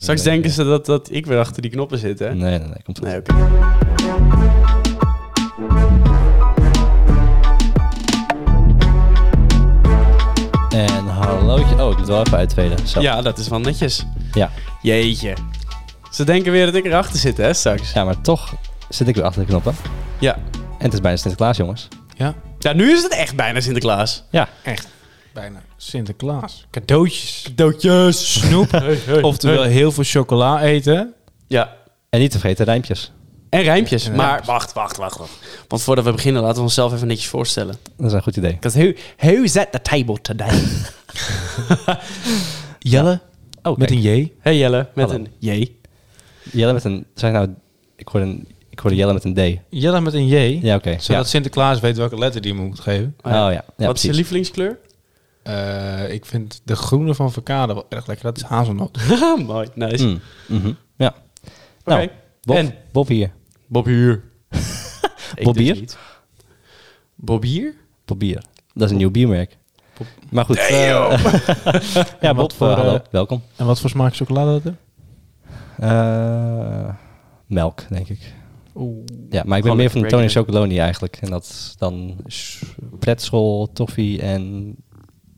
Straks Nee, denken ze dat, dat ik weer achter die knoppen zit, hè? Nee, nee, nee. Komt goed. Nee, oké. En hallootje. Oh, ik moet wel even uitvelen. Zo. Ja, dat is wel netjes. Ja. Jeetje. Ze denken weer dat ik erachter zit, hè, straks? Ja, maar toch zit ik weer achter de knoppen. Ja. En het is bijna Sinterklaas, jongens. Ja, Ja, nu is het echt bijna Sinterklaas. Ja. echt. Bijna Sinterklaas. Cadeautjes. Doodjes. Snoep. Oftewel heel veel chocola eten. Ja. En niet te vergeten rijmpjes. En rijmpjes. En maar rijmpjes. wacht, wacht, wacht, wacht. Want voordat we beginnen, laten we onszelf even netjes voorstellen. Dat is een goed idee. Because who, who's at the table today? Jelle. Oh, Met kijk. een J. Hey Jelle, met Hallo. een J. Jelle met een... Zeg nou... Ik hoorde, een, ik hoorde Jelle met een D. Jelle met een J. Ja, oké. Zodat Ja. Sinterklaas weet welke letter die hem moet geven. Oh ja. Oh ja. ja Wat is je precies. lievelingskleur? Eh, ik vind de groene van Verkade wel erg lekker. Dat is hazelnoot. Haha, Mooi, nice. Mm, mhm. Ja. Oké. Nou, Bob, En? Bob hier. Bob Huur. dus Bob Bier? Bob Bier? Bob bier. Dat is een nieuw biermerk. Maar goed. eh, ja, Bob, Wat voor, eh, hallo. eh, Welkom. En wat voor smaak chocolade dat er? Eh, melk, denk ik. Oeh. Ja, maar ik ben Gewoon meer van lekker Tony regular. Chocoloni eigenlijk. En dat is dan s- pretzel, toffee en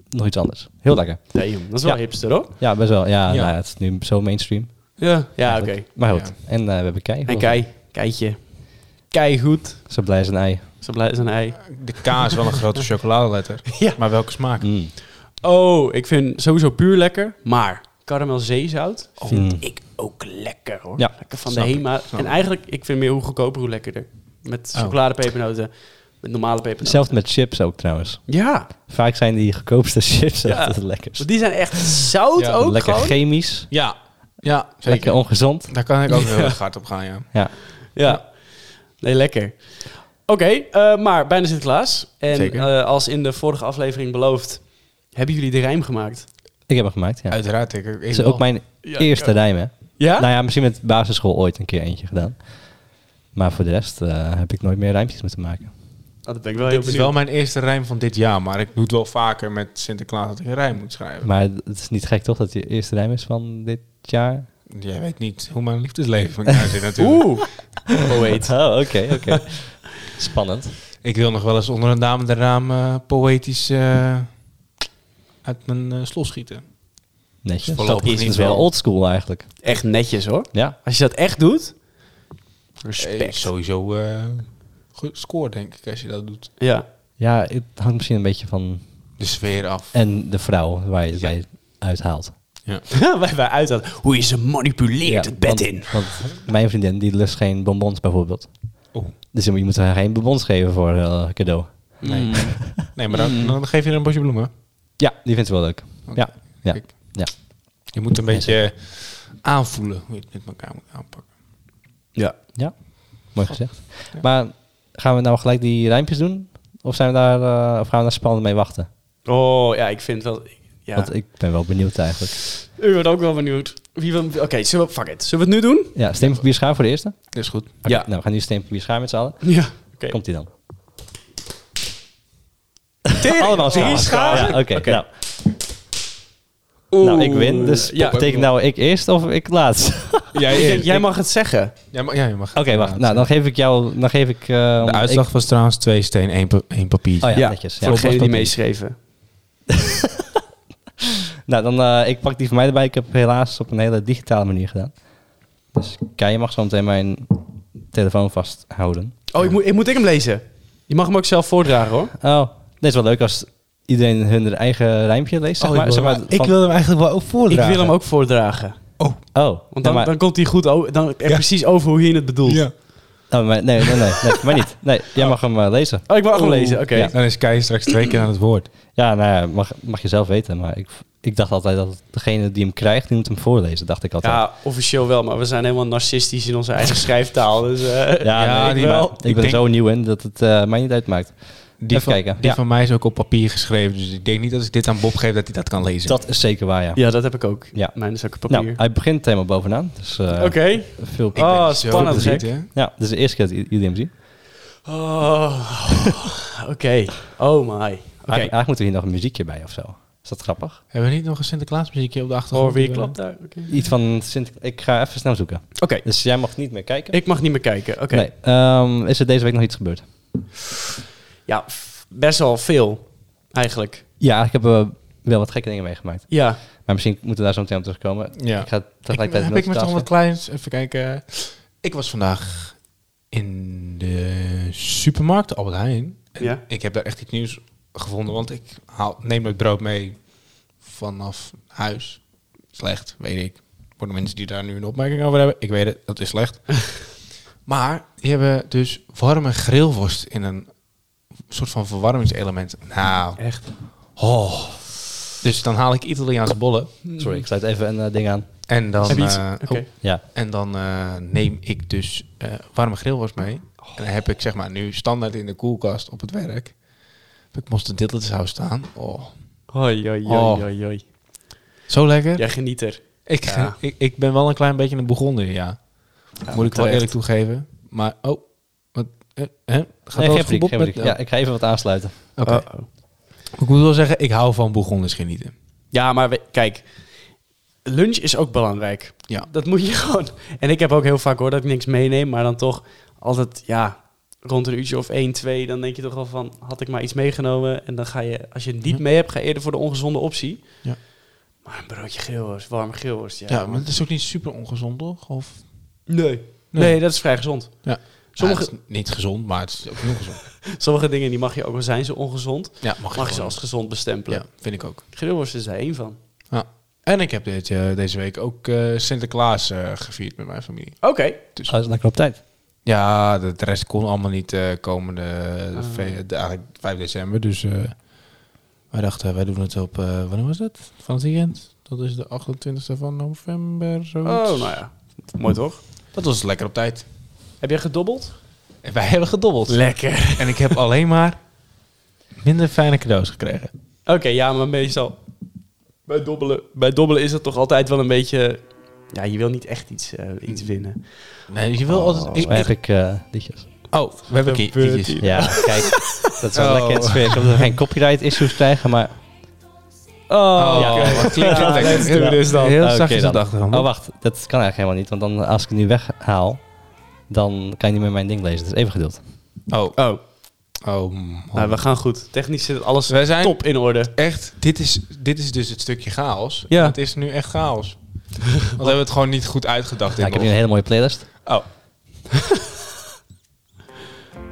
nog iets anders. Heel lekker. Damn, dat is wel Ja. hipster, hoor. Ja, best wel. Ja, Ja. Nou, het is nu zo mainstream. Ja, ja oké. eigenlijk. Maar goed. Ja. En eh, we hebben Kei. En kei, keitje. Kei goed. Zo blij als een ei. Zo blij als een ei. De K is wel een grote chocoladeletter. Ja. Maar welke smaak? Mm. Oh, ik vind sowieso puur lekker. Maar karamel zeezout vind Mm. ik ook lekker, hoor. Ja, lekker van de snap ik, Hema. snap En ik. eigenlijk, ik vind meer hoe goedkoper, hoe lekkerder. Met Oh. chocoladepepernoten. Met normale pepernoten. Hetzelfde met chips ook trouwens. Ja, Vaak zijn die goedkoopste chips Ja. altijd het lekkerst. want die zijn echt zout Ja, ook lekker gewoon. chemisch. Ja. Ja, zeker. Lekker ongezond. Daar kan ik ook heel erg hard op gaan, ja. Ja. Ja. Nee, lekker. Oké, eh, maar bijna Sinterklaas. En Zeker. eh, als in de vorige aflevering beloofd, hebben jullie de rijm gemaakt? Ik heb hem gemaakt, ja. Uiteraard. Ik, ik Het is ook mijn Ja, eerste rijm, hè. Ja? Nou ja, misschien met basisschool ooit een keer eentje gedaan. Maar voor de rest eh, heb ik nooit meer rijmpjes moeten maken. Oh, dat ben ik wel heel Dit is wel benieuwd. mijn eerste rijm van dit jaar, maar ik doe het wel vaker met Sinterklaas dat ik een rijm moet schrijven. Maar het is niet gek toch dat je eerste rijm is van dit jaar? Jij weet niet hoe mijn liefdesleven van jou zit natuurlijk. Oeh, poëet. Oh, oké, oké. Spannend. Ik wil nog wel eens onder een dame de raam eh, poëtisch eh, uit mijn eh slos schieten. Netjes. Dus voorlopig dat is niet dus wel wel. oldschool eigenlijk. Echt netjes hoor. Ja. Als je dat echt doet, Eh, respect. sowieso eh goed score, denk ik, als je dat doet. Ja. Ja, het hangt misschien een beetje van... De sfeer af. En de vrouw waar je het bij uithaalt. wij, wij uit dat. Hoe je ze manipuleert Ja, het bed want, in. Want mijn vriendin, die lust geen bonbons bijvoorbeeld. Oeh. Dus je moet- je moet haar geen bonbons geven voor eh, cadeau. Nee. nee, maar dan, dan geef je er een bosje bloemen. Ja, die vindt ze wel leuk. Oké. Ja, ja, Kijk. ja. Je moet een beetje aanvoelen hoe je het met elkaar moet aanpakken. Ja. Ja, mooi gezegd. Maar gaan we nou gelijk die rijmpjes doen? Of, zijn we daar, eh, of gaan we daar spannend mee wachten? Oh ja, ik vind wel. Ja. Want ik ben wel benieuwd eigenlijk. U wordt ook wel benieuwd. Wie wil- Oké, zullen we, fuck it. Zullen we het nu doen? Ja, steenpapier schaar voor de eerste? Oké, Dat is goed. Ja. Nou, we gaan nu steenpapier schaar met z'n allen. Ja. Oké. Komt die dan? Tering, Allemaal drie samen. scharen. Ja, Oké, Oké. nou, Oeh. nou, ik win. Dus ja, betekent nou ik eerst of ik laatst? Oké, Ik Jij, denk, jij mag het zeggen. Jij mag. Ja, je mag wacht. Nou, dan geef ik jou... Dan geef ik... eh, De ik- uitslag was trouwens twee steen, één, pa- één papier. Oh ja, Ja. netjes. Ja. Voor degenen die Papier. meeschreven. Nou, dan eh, ik pak die van mij erbij. Ik heb het helaas op een hele digitale manier gedaan. Dus Kei, je mag zo meteen mijn telefoon vasthouden. Oh, ik moet, ik moet ik hem lezen? Je mag hem ook zelf voordragen hoor. Oh, dit is wel leuk als iedereen hun eigen rijmpje leest. Zeg Oh, maar, ik, wil zeg maar, hem, ik van- wil hem eigenlijk wel ook Ik voordragen. wil hem ook voordragen. Oh, Want nee, dan, maar, dan komt hij goed over, dan, eh, Ja. precies over hoe je het bedoelt. Ja. oh, maar- nee, nee, nee, nee, maar niet. Nee, jij mag hem eh, lezen. Oh, ik mag hem Oeh. lezen. Oké. Ja. Dan is Kei straks twee keer aan het woord. Ja, nou ja, mag, mag je zelf weten. Maar ik, ik dacht altijd dat degene die hem krijgt, die moet hem voorlezen. Dacht ik altijd. Ja, officieel wel, maar we zijn helemaal narcistisch in onze eigen schrijftaal. Dus, eh, Ja, Ja, nee, die ik, ben- wel. ik Ik ben denk- zo nieuw in dat het eh, mij niet uitmaakt. Die Even van, kijken. Die Ja. van mij is ook op papier geschreven. Dus ik denk niet dat ik dit aan Bob geef dat hij dat kan lezen. Dat is zeker waar, ja. ja, dat heb ik ook. Ja. Mijn is ook een papier. Nou, hij begint helemaal bovenaan. Dus eh, Oké. veel Ik ben Oh, zo spannend, benieuwd, gek. hè. Ja, dit is de eerste keer dat i- jullie hem zien. Oh, Oké. Oh my. Oké. Eigenlijk, eigenlijk moeten we hier nog een muziekje bij of zo. Is dat grappig? Hebben we niet nog een Sinterklaas muziekje op de achtergrond? Oh, weer Die we- klopt daar. Oké. Iets van Sint... Ik ga even snel zoeken. Oké, Dus jij mag niet meer kijken? Ik mag niet meer kijken. Oké. Nee. Ehm, is er deze week nog iets gebeurd? Ja, f- best wel veel eigenlijk. Ja, ik heb eh, wel wat gekke dingen meegemaakt. Ja. Maar misschien moeten we daar zo meteen op terugkomen. Ja. Ik ga Ik, tegelijkertijd heb ik nog wat multitasken. kleins? Even kijken. Ik was vandaag in de supermarkt Albert Heijn. En Ja. Ik heb daar echt iets nieuws gevonden, want ik haal, neem het brood mee vanaf huis. Slecht, weet ik. Voor de mensen die daar nu een opmerking over hebben. Ik weet het, dat is slecht. maar die hebben dus warme grillworst in een soort van verwarmingselement. Nou, Echt? oh. Dus dan haal ik Italiaanse bollen. Sorry, ik sluit even een eh, ding aan. En dan... Heb Hmm. je iets? eh, Oké. oh, Ja. en dan eh, neem ik dus eh, warme grillworst mee. En dan heb ik zeg maar nu standaard in de koelkast op het werk. Heb ik mosterd zou staan. Oh, Hoi, hoi, Oh. hoi, hoi, hoi. zo lekker. Jij geniet er. Ik, Ja. ik, ik ben wel een klein beetje een begonnen, ja. Moet ik wel terecht. eerlijk toegeven. Maar, oh, wat, eh, hè? Gaat Nee, wel geen paniek, verbod geen met- paniek. Ja, ik ga even wat aansluiten. Oké. Uh-oh. Ik moet wel zeggen, ik hou van begonnen genieten. Ja, maar we- kijk, lunch is ook belangrijk. Ja. Dat moet je gewoon. En ik heb ook heel vaak hoor dat ik niks meeneem, maar dan toch altijd, ja, rond een uurtje of 1, 2, dan denk je toch al van, had ik maar iets meegenomen. En dan ga je, als je het niet Ja. mee hebt, ga je eerder voor de ongezonde optie. Ja. Maar een broodje geelworst, warme geelworst, ja. Ja, maar het is ook niet super ongezond, toch? Of, Nee. nee. dat is vrij gezond. Ja. Sommige, Sommige... niet gezond, maar het is ook niet ongezond. sommige dingen, die mag je ook al zijn ze ongezond, Ja, mag, mag je ze gewoon. als gezond bestempelen. Ja, vind ik ook. Geelworst is daar dus één van. En ik heb dit, eh, deze week ook eh, Sinterklaas eh, gevierd met mijn familie. Oké. Oh, is lekker op tijd. Ja, de, de rest kon allemaal niet eh, komende Ah. ve- de- eigenlijk 5 december. Dus eh, wij dachten, wij doen het op, eh, wanneer was het? Van het weekend? Dat is de 28e van november. Oh, Zoiets. nou ja. Mooi toch? Dat was lekker op tijd. Heb jij gedobbeld? En wij hebben gedobbeld. Lekker. en ik heb alleen maar minder fijne cadeaus gekregen. Oké, ja, maar meestal. Bij dobbelen, bij dobbelen is dat toch altijd wel een beetje. Ja, je wil niet echt iets, eh, iets winnen. Nee, je wil Oh. altijd... Volgens mij heb ik eh, liedjes. oh, we hebben ki- Gebeurt kietjes. hier. Ja, kijk. Dat is wel Oh. lekker in het sfeer. Ik hoop dat we geen copyright issues krijgen, maar... Ah, Oh, ja. wat klinkt het lekker. let's do this dus dan. Heel Oké zachtjes dan. op de achtergrond. Oh, wacht. Dat kan eigenlijk helemaal niet. Want dan, als ik het nu weghaal, dan kan je niet meer mijn ding lezen. Dus even geduld. Oh, Oh, oh nou, we gaan goed. Technisch zit alles Wij zijn- top in orde. echt, dit is, dit is dus het stukje chaos. Ja. Het is nu echt chaos. Want we hebben het gewoon niet goed uitgedacht. Nou, in ik heb nu een hele mooie playlist. Oh.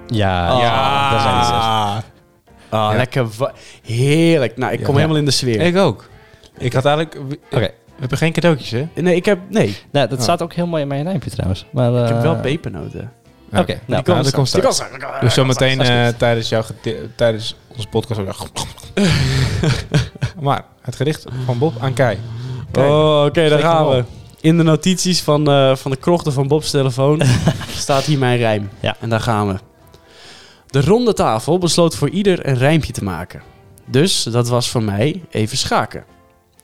Ja, Ja. daar zijn de zes. Ah, Ja. Lekker. wa- Heerlijk. Nou, ik Ja. kom helemaal in de sfeer. Ik ook. Ik had eigenlijk... We, Oké. we hebben geen cadeautjes, hè? Nee, ik heb. Nee, ik Nou, dat Oh. staat ook heel mooi in mijn lijmpje trouwens. Maar, eh, Ah. heb wel pepernoten. Oké, nou. kan dat straks. komt Die straks. kan straks. Dus zometeen Als eh, het tijdens, jouw gedi- tijdens onze podcast... ook- maar het gedicht van Bob aan Kai. Kijk, Oh, oké, daar steek hem gaan we. op. In de notities van, eh, van de krochten van Bob's telefoon staat hier mijn rijm. Ja. En daar gaan we. De ronde tafel besloot voor ieder een rijmpje te maken. Dus dat was voor mij even schaken.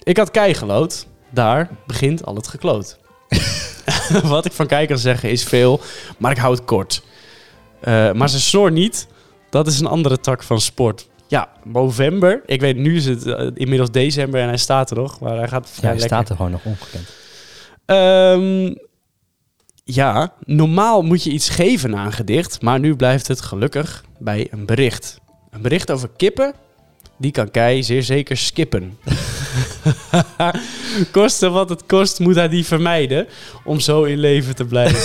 Ik had kei gelood. Daar begint al het gekloot. Wat ik van kei kan zeggen is veel, maar ik hou het kort. Eh, maar ze snor niet. Dat is een andere tak van sport. Ja, november. Ik weet, nu is het eh, inmiddels december en hij staat er nog. Maar hij gaat Ja, vrij die lekker. staat er gewoon nog ongekend. Ehm, ja, normaal moet je iets geven aan een gedicht, maar nu blijft het gelukkig bij een bericht. Een bericht over kippen, die kan Kei zeer zeker skippen. Kosten wat het kost, moet hij die vermijden om zo in leven te blijven.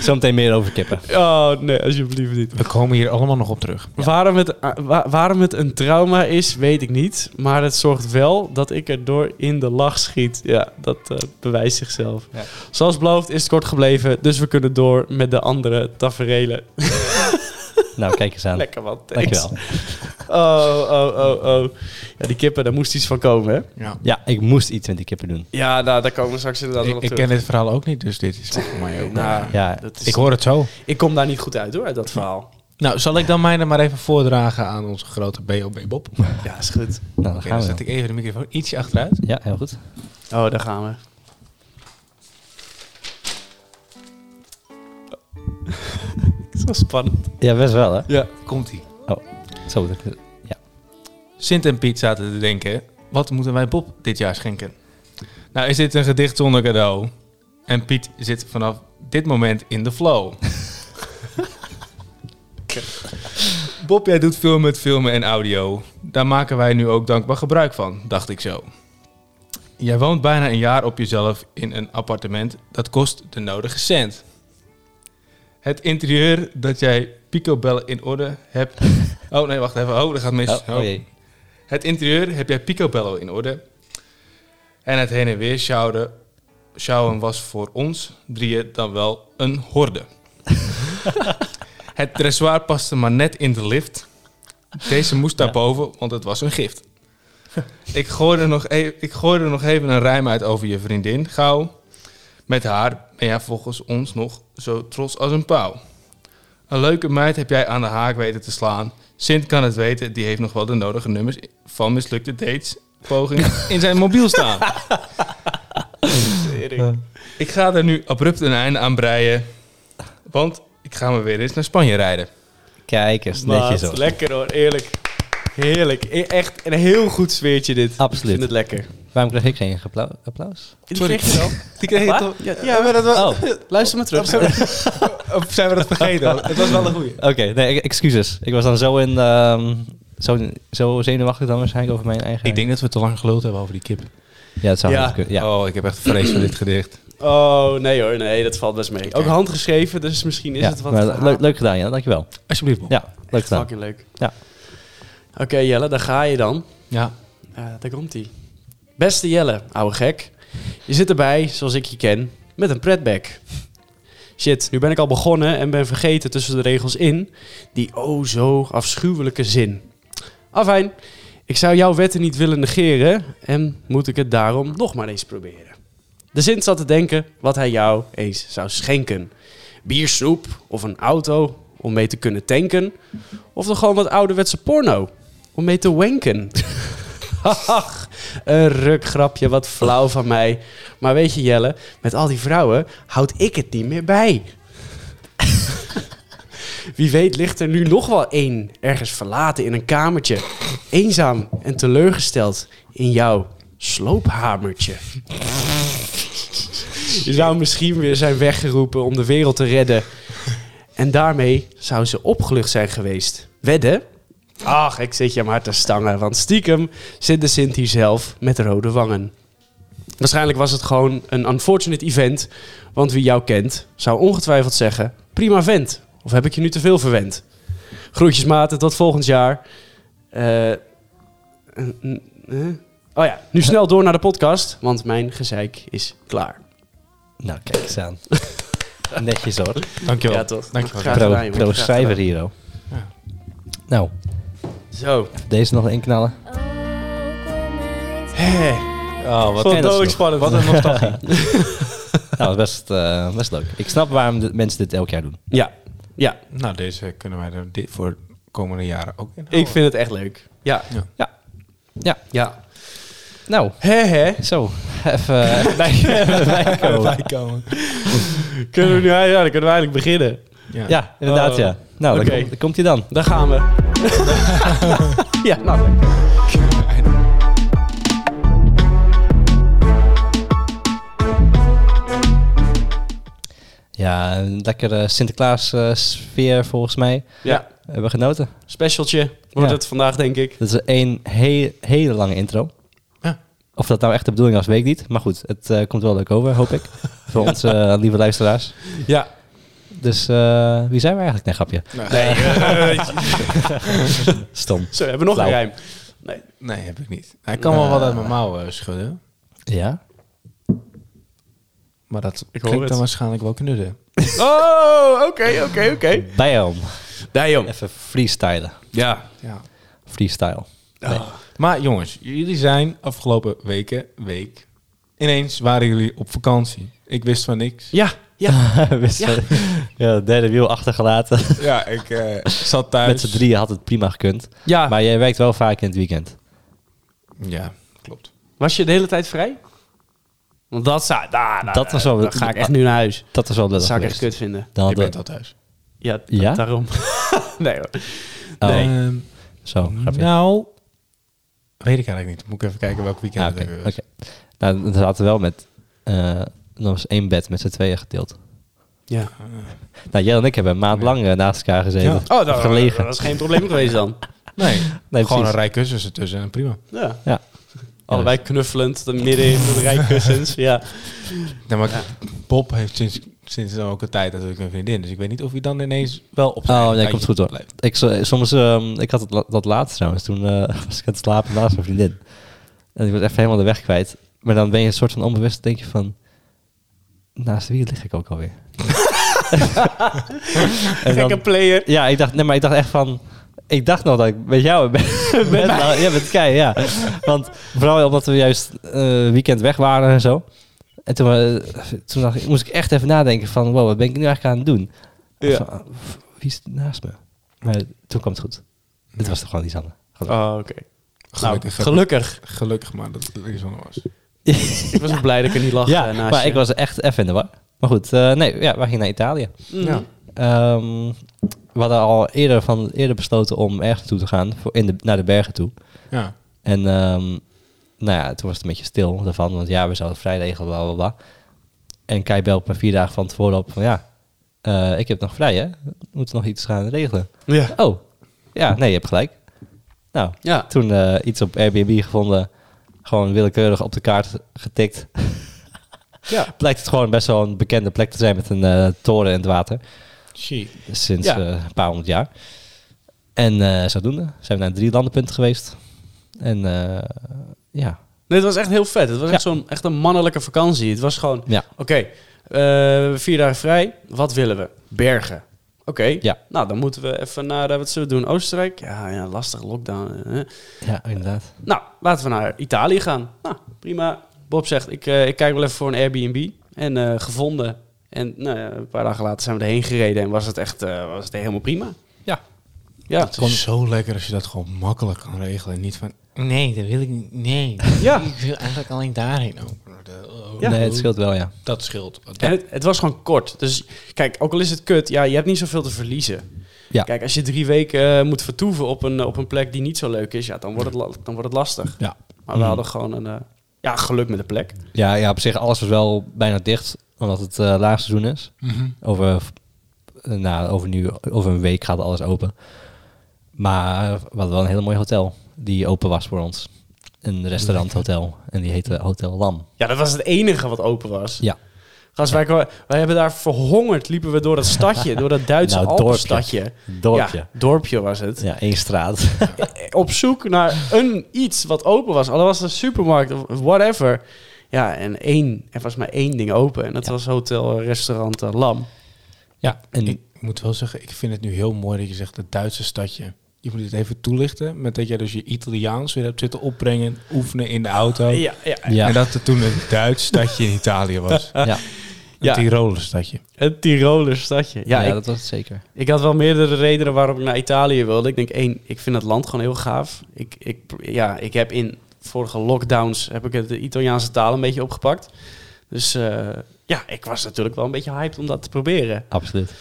Zometeen meer over kippen. oh nee, alsjeblieft niet. We komen hier allemaal nog op terug. Waarom, het, ah, wa- waarom het een trauma is, weet ik niet. Maar het zorgt wel dat ik erdoor in de lach schiet. Ja, dat eh, bewijst zichzelf. Ja. Zoals beloofd is het kort gebleven. Dus we kunnen door met de andere taferelen. Nou, kijk eens aan. Lekker man. thanks. Dankjewel. Oh, oh, oh, oh. Ja, die kippen, daar moest iets van komen, hè? Ja. Ja, ik moest iets met die kippen doen. Ja, nou, daar komen we straks inderdaad wel Ik, op ik terug. ken dit verhaal ook niet, dus dit is voor mij ook... Nou, Ja, dat is- ik hoor het zo. ik kom daar niet goed uit, hoor, uit dat verhaal. Nou, zal ik dan mij er maar even voordragen aan onze grote BOB Bob? Oké, Ja, is goed. nou, dan gaan dan we. zet ik even de microfoon ietsje achteruit. Ja, heel goed. Oh, daar gaan we. Het is wel spannend. Ja, best wel hè. Ja. Komt-ie. Zo, dat- Sint en Piet zaten te denken: wat moeten wij Bob dit jaar schenken? Nou, is dit een gedicht zonder cadeau? En Piet zit vanaf dit moment in de flow. Bob, jij doet veel met filmen en audio. Daar maken wij nu ook dankbaar gebruik van, dacht ik zo. Jij woont bijna een jaar op jezelf in een appartement. Dat kost de nodige cent. Het interieur dat jij picobellen in orde hebt. Oh nee, wacht even. Oh, dat gaat mis. Oh, oh jee. Het interieur heb jij picobello in orde. En het heen en weer sjouwen, sjouwen was voor ons drieën dan wel een horde. het dressoir paste maar net in de lift. Deze moest daarboven, want het was een gift. Ik gooide, nog e- ik gooide nog even een rijm uit over je vriendin, gauw. Met haar ben jij volgens ons nog zo trots als een pauw. Een leuke meid heb jij aan de haak weten te slaan. Sint kan het weten, die heeft nog wel de nodige nummers van mislukte dates pogingen in zijn mobiel staan. ik ga er nu abrupt een einde aan breien, want ik ga me weer eens naar Spanje rijden. Kijk eens, netjes Maat, hoor. lekker hoor, eerlijk. Heerlijk. E- Echt een heel goed sfeertje dit. Ik Absoluut. vind het lekker. Waarom kreeg ik geen gepla- applaus? Sorry. Die kreeg je Wat? toch- Ja, Ja, maar dat was, Oh, Luister maar terug. Of zijn we dat vergeten? Het was wel een goeie. oké. Nee, e- excuses. Ik was dan zo in... ehm, zo, zo zenuwachtig dan waarschijnlijk over mijn eigen... Ik denk dat we te lang geluld hebben over die kip. Ja, het zou Ja. ja. kunnen. Ja. Oh, ik heb echt vrees voor dit gedicht. Oh, nee hoor. Nee, dat valt best mee. Ook handgeschreven, dus misschien is Ja, het wat... maar leuk, leuk gedaan, ja. Dankjewel. Alsjeblieft, Bob. Ja, leuk Echt gedaan. fucking leuk. Ja. Oké Jelle, daar ga je dan. Ja. Eh, daar komt hij. Beste Jelle, ouwe gek. Je zit erbij, zoals ik je ken, met een pretback. Shit, nu ben ik al begonnen en ben vergeten tussen de regels in die oh zo afschuwelijke zin. Afijn, ik zou jouw wetten niet willen negeren en moet ik het daarom nog maar eens proberen. De zin zat te denken wat hij jou eens zou schenken. Biersnoep of een auto om mee te kunnen tanken. Of nog gewoon wat ouderwetse porno om mee te wanken. Ach, een rukgrapje, wat flauw van mij. Maar weet je, Jelle, met al die vrouwen houd ik het niet meer bij. Wie weet ligt er nu nog wel één ergens verlaten in een kamertje. Eenzaam en teleurgesteld in jouw sloophamertje. Je zou misschien weer zijn weggeroepen om de wereld te redden. En daarmee zou ze opgelucht zijn geweest. Wedden? Ach, ik zit je maar te stangen, want stiekem zit de Sint hier zelf met rode wangen. Waarschijnlijk was het gewoon een unfortunate event, want wie jou kent zou ongetwijfeld zeggen: prima vent, of heb ik je nu te veel verwend? Groetjes maten, tot volgend jaar. Eh, eh, eh, eh. Oh ja, nu snel door naar de podcast, want mijn gezeik is klaar. Nou, kijk eens aan. Netjes hoor. Dankjewel. Ja, toch? Dankjewel. Graag pro, gedaan, jongen. pro Graag gedaan. cijfer hier ook. Ja. Nou, Zo. Oh, deze nog inknallen. Hé, Oh, wat Vond het ook spannend. Wat een nostalgie. Nou, best, eh, best leuk. Ik snap waarom de mensen dit elk jaar doen. Ja, ja, nou, deze kunnen wij er dit voor de komende jaren ook in. ik vind het echt leuk. Ja, Ja, ja. nou, Hé, hé. zo. Even, even bij, even bijkomen. komen. Kunnen we nu ja, dan kunnen we eigenlijk beginnen. Ja. Ja, inderdaad, Oh. ja. Nou, dan Oké. komt- dan komt hij dan. Daar gaan we. ja, nou. Ja, een lekkere Sinterklaas eh, sfeer volgens mij. Ja, We hebben genoten. specialtje wordt Ja. het vandaag, denk ik. Dat is één he- hele lange intro. Ja. Of dat nou echt de bedoeling was, weet ik niet. Maar goed, het eh, komt wel leuk over, hoop ik. Voor onze eh, lieve luisteraars. Ja. Dus eh, wie zijn we eigenlijk? Nee, grapje. Nee, eh, Stom. zo, we hebben nog een Flauw. rijm. Nee, heb ik niet. Hij kan wel wat uit mijn mouwen schudden. Ja? Maar dat Ik ik hoor klinkt het. dan waarschijnlijk wel knudden. Oh, oké, oké, oké. Bijom. Dijom. Even freestylen. Ja. Ja. Freestyle. Maar jongens, jullie zijn afgelopen weken, week, ineens waren jullie op vakantie. Ik wist van niks. Ja, ja. Wist Ja. je- ja, derde wiel achtergelaten. Ja, ik eh, zat thuis. Met z'n drieën had het prima gekund. ja. Maar jij werkt wel vaak in het weekend. Ja, klopt. Was je de hele tijd vrij? Want dat zou... daar, daar, Dat was wel- daar ga ik echt nu naar huis. Dat is wel Dat lullig zou ik echt geweest. kut vinden. Dan Je hadden bent we- al thuis. Ja, d- Ja? daarom. nee hoor. Oh, Nee. Ehm, Zo, grapje. Nou, Weet ik eigenlijk niet. Moet ik even kijken welk weekend Ja, het Ah, oké. even was. oké. Nou, we zaten wel met... eh er was één bed met z'n tweeën gedeeld. Ja. Nou, jij en ik hebben een maand lang eh, naast elkaar gezeten. Ja. Oh, dat, Gelegen. dat is geen probleem geweest dan. Nee, Nee, gewoon precies. een rij kussens ertussen en prima. Ja. Ja. Allebei knuffelend, dan midden in de rijkussens. Ja. Nee, maar Bob heeft sinds, sinds dan ook een tijd natuurlijk een vriendin. Dus ik weet niet of hij dan ineens wel op zijn Oh, eigen nee, komt tijdje goed hoor. blijft. Ik, zo- soms, ehm, ik had het la- dat laatst trouwens. Toen eh, was ik aan het slapen naast mijn vriendin. En ik was echt helemaal de weg kwijt. Maar dan ben je een soort van onbewust, denk je van... Naast wie lig ik ook alweer? en Gekke dan, player. ja, ik dacht, nee, maar ik dacht echt van... Ik dacht nog dat ik met jou ben. met nou, ja, met Kei, ja. Want vooral omdat we juist eh, weekend weg waren en zo. En toen, eh, toen dacht ik, moest ik echt even nadenken van... Wow, wat ben ik nu eigenlijk aan het doen? Ja. Van, ah, f- wie is naast me? Maar toen kwam het goed. Het was toch gewoon die Anne. Oh, oké. Gelukkig, Nou, gelukkig. gelukkig maar dat het iets anders was. Ik was ook blij dat ik er niet lag ja, eh, naast maar je. ik was echt even in de war. Maar goed, eh, nee, ja, wij gingen naar Italië. Mm. Ja. Ehm, we hadden al eerder, van, eerder besloten om ergens naartoe te gaan, voor in de, naar de bergen toe. Ja. En ehm, nou ja, toen was het een beetje stil daarvan, want ja, we zouden vrij regelen, bla bla bla. En Kai belt me vier dagen van tevoren op van ja, eh, ik heb nog vrij hè, we moeten nog iets gaan regelen. Ja. Oh, ja, nee, je hebt gelijk. Nou, Ja. toen eh, iets op Airbnb gevonden, gewoon willekeurig op de kaart getikt. Ja. Blijkt het gewoon best wel een bekende plek te zijn met een eh, toren in het water. Sinds Ja. eh, een paar honderd jaar. En eh, zodoende zijn we naar drie landenpunten geweest. En eh, ja, Nee, het was echt heel vet. Het was Ja. echt, zo'n, echt een mannelijke vakantie. Het was gewoon, ja, oké, eh, vier dagen vrij. Wat willen we? Bergen. Oké, Ja. nou dan moeten we even naar, eh, wat zullen we doen? Oostenrijk? Ja, ja lastig, lockdown. eh. ja inderdaad. Nou, laten we naar Italië gaan. Nou, prima. Bob zegt, ik, eh, ik kijk wel even voor een Airbnb. En eh, gevonden. En nou, ja, een paar dagen later zijn we erheen gereden en was het echt eh, was het helemaal prima. Ja. Ja, Het is zo lekker als je dat gewoon makkelijk kan regelen. En niet van, nee, dat wil ik niet. Nee, Ja. ik wil eigenlijk alleen daarheen. Oh, de- oh, Ja. Nee, het scheelt wel, ja. Dat scheelt. En het, het was gewoon kort. Dus kijk, ook al is het kut, ja, je hebt niet zoveel te verliezen. Ja. Kijk, als je drie weken eh, moet vertoeven op een, op een plek die niet zo leuk is, ja, dan wordt het, la- dan wordt het lastig. Ja. Maar we hadden gewoon een eh, ja, geluk met de plek. ja. Ja, op zich, alles was wel bijna dicht, omdat het eh laagseizoen is. Over, eh, nou, over, nu, over een week gaat alles open. Maar we hadden wel een heel mooi hotel die open was voor ons. Een restauranthotel. En die heette Hotel Lam. Ja, dat was het enige wat open was. Ja. Gast, wij, kwa- wij hebben daar verhongerd, liepen we door dat stadje, door dat Duitse Nou, Alpenstadje. Dorpje. Ja, dorpje was het. Ja, één straat. Op zoek naar een iets wat open was. Al was het een supermarkt of whatever. Ja, en één, er was maar één ding open. En dat was hotel, restaurant eh, Lam. ja, en Ik moet wel zeggen, ik vind het nu heel mooi dat je zegt het Duitse stadje. Je moet het even toelichten met dat jij dus je Italiaans weer hebt zitten opbrengen, oefenen in de auto. Ja, ja. Ja. En dat er toen een Duits stadje in Italië was. Een ja, Ja. Tiroler stadje. Een Tiroler stadje. Ja, ja, ik, dat was het zeker. ik had wel meerdere redenen waarom ik naar Italië wilde. Ik denk één, ik vind het land gewoon heel gaaf. Ik, ik, ja, ik heb in vorige lockdowns heb ik het- de Italiaanse taal een beetje opgepakt. Dus eh, ja, ik was natuurlijk wel een beetje hyped om dat te proberen. Absoluut.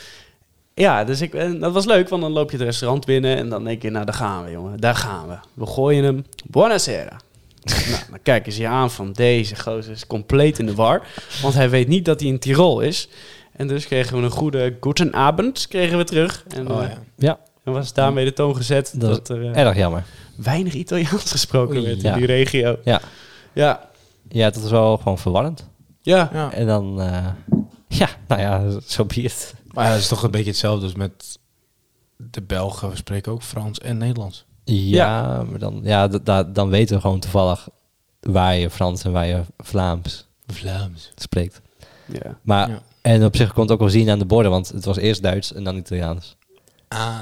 Ja, dus ik, en dat was leuk, want dan loop je het restaurant binnen en dan denk je, nou daar gaan we jongen, daar gaan we. We gooien hem, buonasera. nou, dan kijken ze je aan van deze gozer is compleet in de war, want hij weet niet dat hij in Tirol is. En dus kregen we een goede Guten Abend kregen we terug. En, Oh, eh, ja. Ja, en was daarmee de toon gezet Dat- dat, er eh, erg jammer. weinig Italiaans gesproken Oei. werd Ja. in die regio. Ja. Ja, Ja, dat is wel gewoon verwarrend. ja. Ja. En dan, eh, ja, nou ja, zo be it. Maar ja, dat is toch een beetje hetzelfde als met de Belgen. We spreken ook Frans en Nederlands. Ja, maar dan, ja, da- da- dan weten we gewoon toevallig waar je Frans en waar je Vlaams Vlaams. spreekt. ja. Maar, Ja. en op zich kon het ook wel zien aan de borden, want het was eerst Duits en dan Italiaans. Ah.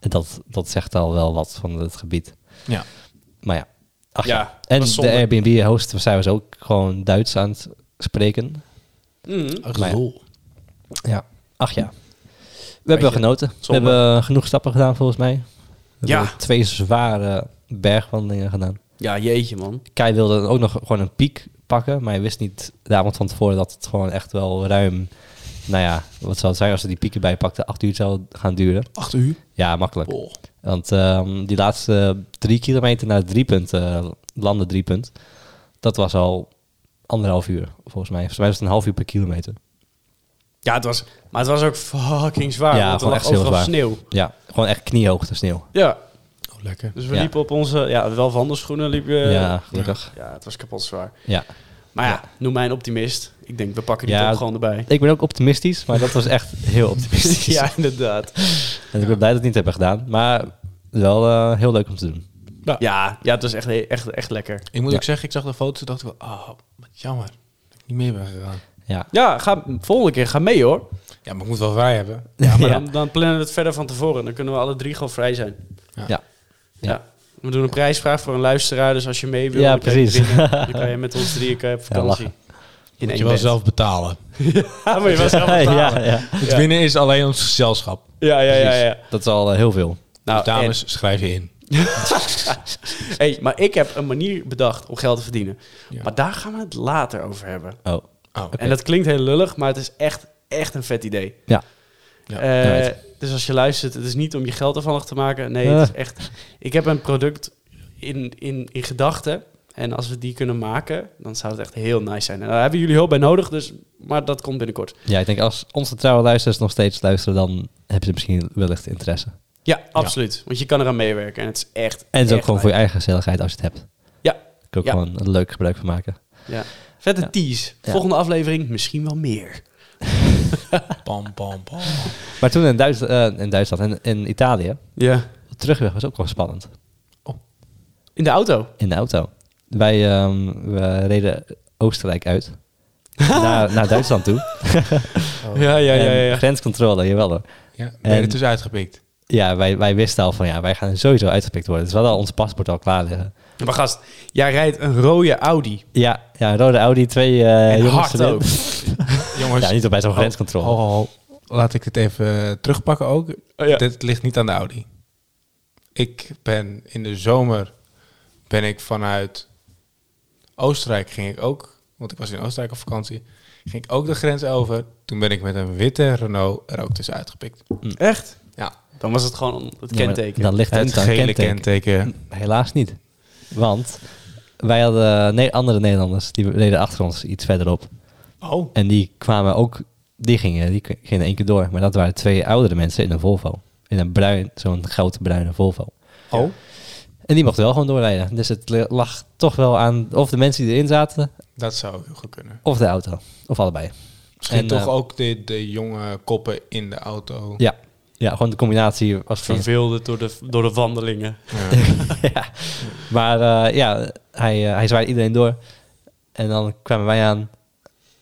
En dat, dat zegt al wel wat van het gebied. Ja. Maar ja, ach ja. Ja, En dat is de zonde. Airbnb-host zijn we ook gewoon Duits aan het spreken. Mm. Ach, Maar ja. lol. Ja. Ach ja. We hebben je, genoten. We zonde. hebben eh, genoeg stappen gedaan volgens mij. We Ja. hebben twee zware bergwandelingen gedaan. Ja, jeetje man. Kai wilde dan ook nog gewoon een piek pakken, maar hij wist niet de avond van tevoren dat het gewoon echt wel ruim, nou ja, wat zou het zijn als we die pieken bijpakten, acht uur zou gaan duren. Acht uur. Ja, makkelijk. Oh. Want ehm, die laatste drie kilometer naar het driepunt, eh landen driepunt, dat was al anderhalf uur volgens mij. Volgens mij was het een half uur per kilometer. Ja, het was, maar het was ook fucking zwaar. Ja, Ah, want er gewoon lag echt heel overal zwaar. sneeuw. Ja, gewoon echt kniehoogte sneeuw. Ja, Oh, lekker. dus we Ja. liepen op onze... Ja, wel wandelschoenen liepen we- ja, gelukkig. Eh, ja, het was kapot zwaar. Ja. Maar ja, noem mij een optimist. Ik denk, we pakken die Ja. top gewoon erbij. Ik ben ook optimistisch, maar dat was echt heel optimistisch. ja, inderdaad. En ik ben blij dat we het niet hebben gedaan, maar wel eh, heel leuk om te doen. Ja, ja het was echt, echt, echt lekker. Ik moet Ja. ook zeggen, ik zag de foto's en dacht ik wel, oh, wat jammer. Dat ik niet mee ben gegaan. Ja, Ja, ga, volgende keer ga mee hoor. Ja, maar ik moet wel vrij hebben. Ja, Ah, maar Ja. Dan, dan plannen we het verder van tevoren. Dan kunnen we alle drie gewoon vrij zijn. Ja. Ja. Ja. We doen een prijsvraag voor een luisteraar. Dus als je mee wil, Ja, dan kan je precies. winnen. Dan kan je met ons drieën kan je op vakantie. lachen. In Moet één je wel bed. zelf betalen. Ja, moet je wel zelf betalen. ja, ja. Het Ja. winnen is alleen ons gezelschap. Ja, ja, ja, Precies. ja. dat is al eh, heel veel. Nou, dus dames, schrijf je in. en- hey, maar ik heb een manier bedacht om geld te verdienen. Ja. Maar daar gaan we het later over hebben. Oh, Oh, En dat klinkt heel lullig, maar het is echt, echt een vet idee. Ja. Ja, Eh, ja, weet dus als je luistert, het is niet om je geld afhankelijk te maken. Ah. Nee, het is echt... Ik heb een product in, in, in gedachten. En als we die kunnen maken, dan zou het echt heel nice zijn. En daar hebben jullie hulp bij nodig, dus, maar dat komt binnenkort. Ja, ik denk als onze trouwe luisteraars nog steeds luisteren, dan hebben ze misschien wellicht interesse. Ja, absoluut. Want je kan eraan meewerken en het is echt En het is ook echt gewoon voor je eigen gezelligheid als je het hebt. Ja. Daar Kun je Ja. ook gewoon een leuk gebruik van maken. Ja. Vette Ja. tease. Ja. Volgende aflevering misschien wel meer. Pam, pam, pam. Maar toen in, Duits, eh, in Duitsland en in Italië, Ja. de terugweg was ook wel spannend. In de auto. In de auto. Wij ehm, we reden Oostenrijk uit. naar, naar Duitsland toe. Oh. Ja, ja, En Grenscontrole, jawel hoor. Ja, ben je En- er tussen uitgepikt? Ja, wij, wij wisten al van ja, wij gaan sowieso uitgepikt worden. Dus we hadden al ons paspoort al klaar liggen. Maar gast, jij rijdt een rode Audi. Ja, ja rode Audi, twee eh En jongens hard erin. ook. Jongens, Ja, niet op bij zo'n grenscontrole. ho, ho, ho. Oh, laat ik dit even eh, terugpakken ook. Oh, ja. Dit ligt niet aan de Audi. Ik ben in de zomer ben ik vanuit Oostenrijk ging ik ook, want ik was in Oostenrijk op vakantie, ging ik ook de grens over. Toen ben ik met een witte Renault er ook tussen uitgepikt. Echt? Ja, Dan was het gewoon het Ja, maar kenteken. Dan ligt het het aan gele kenteken. Hm. kenteken. Helaas niet. Want wij hadden nee, andere Nederlanders, die reden achter ons iets verderop. Oh. En die kwamen ook, die gingen, die k- gingen één keer door. Maar dat waren twee oudere mensen in een Volvo. In een bruin, zo'n grote bruine Volvo. Oh. En die mochten wel gewoon doorrijden. Dus het li- lag toch wel aan of de mensen die erin zaten, Dat zou heel goed kunnen. of de auto. Of allebei. Misschien En, toch eh, ook de, de jonge koppen in de auto. Ja, ja gewoon de combinatie was geen Verveelde door de, door de wandelingen. Ja. ja. Maar eh, ja, hij, eh, hij zwaaide iedereen door. En dan kwamen wij aan.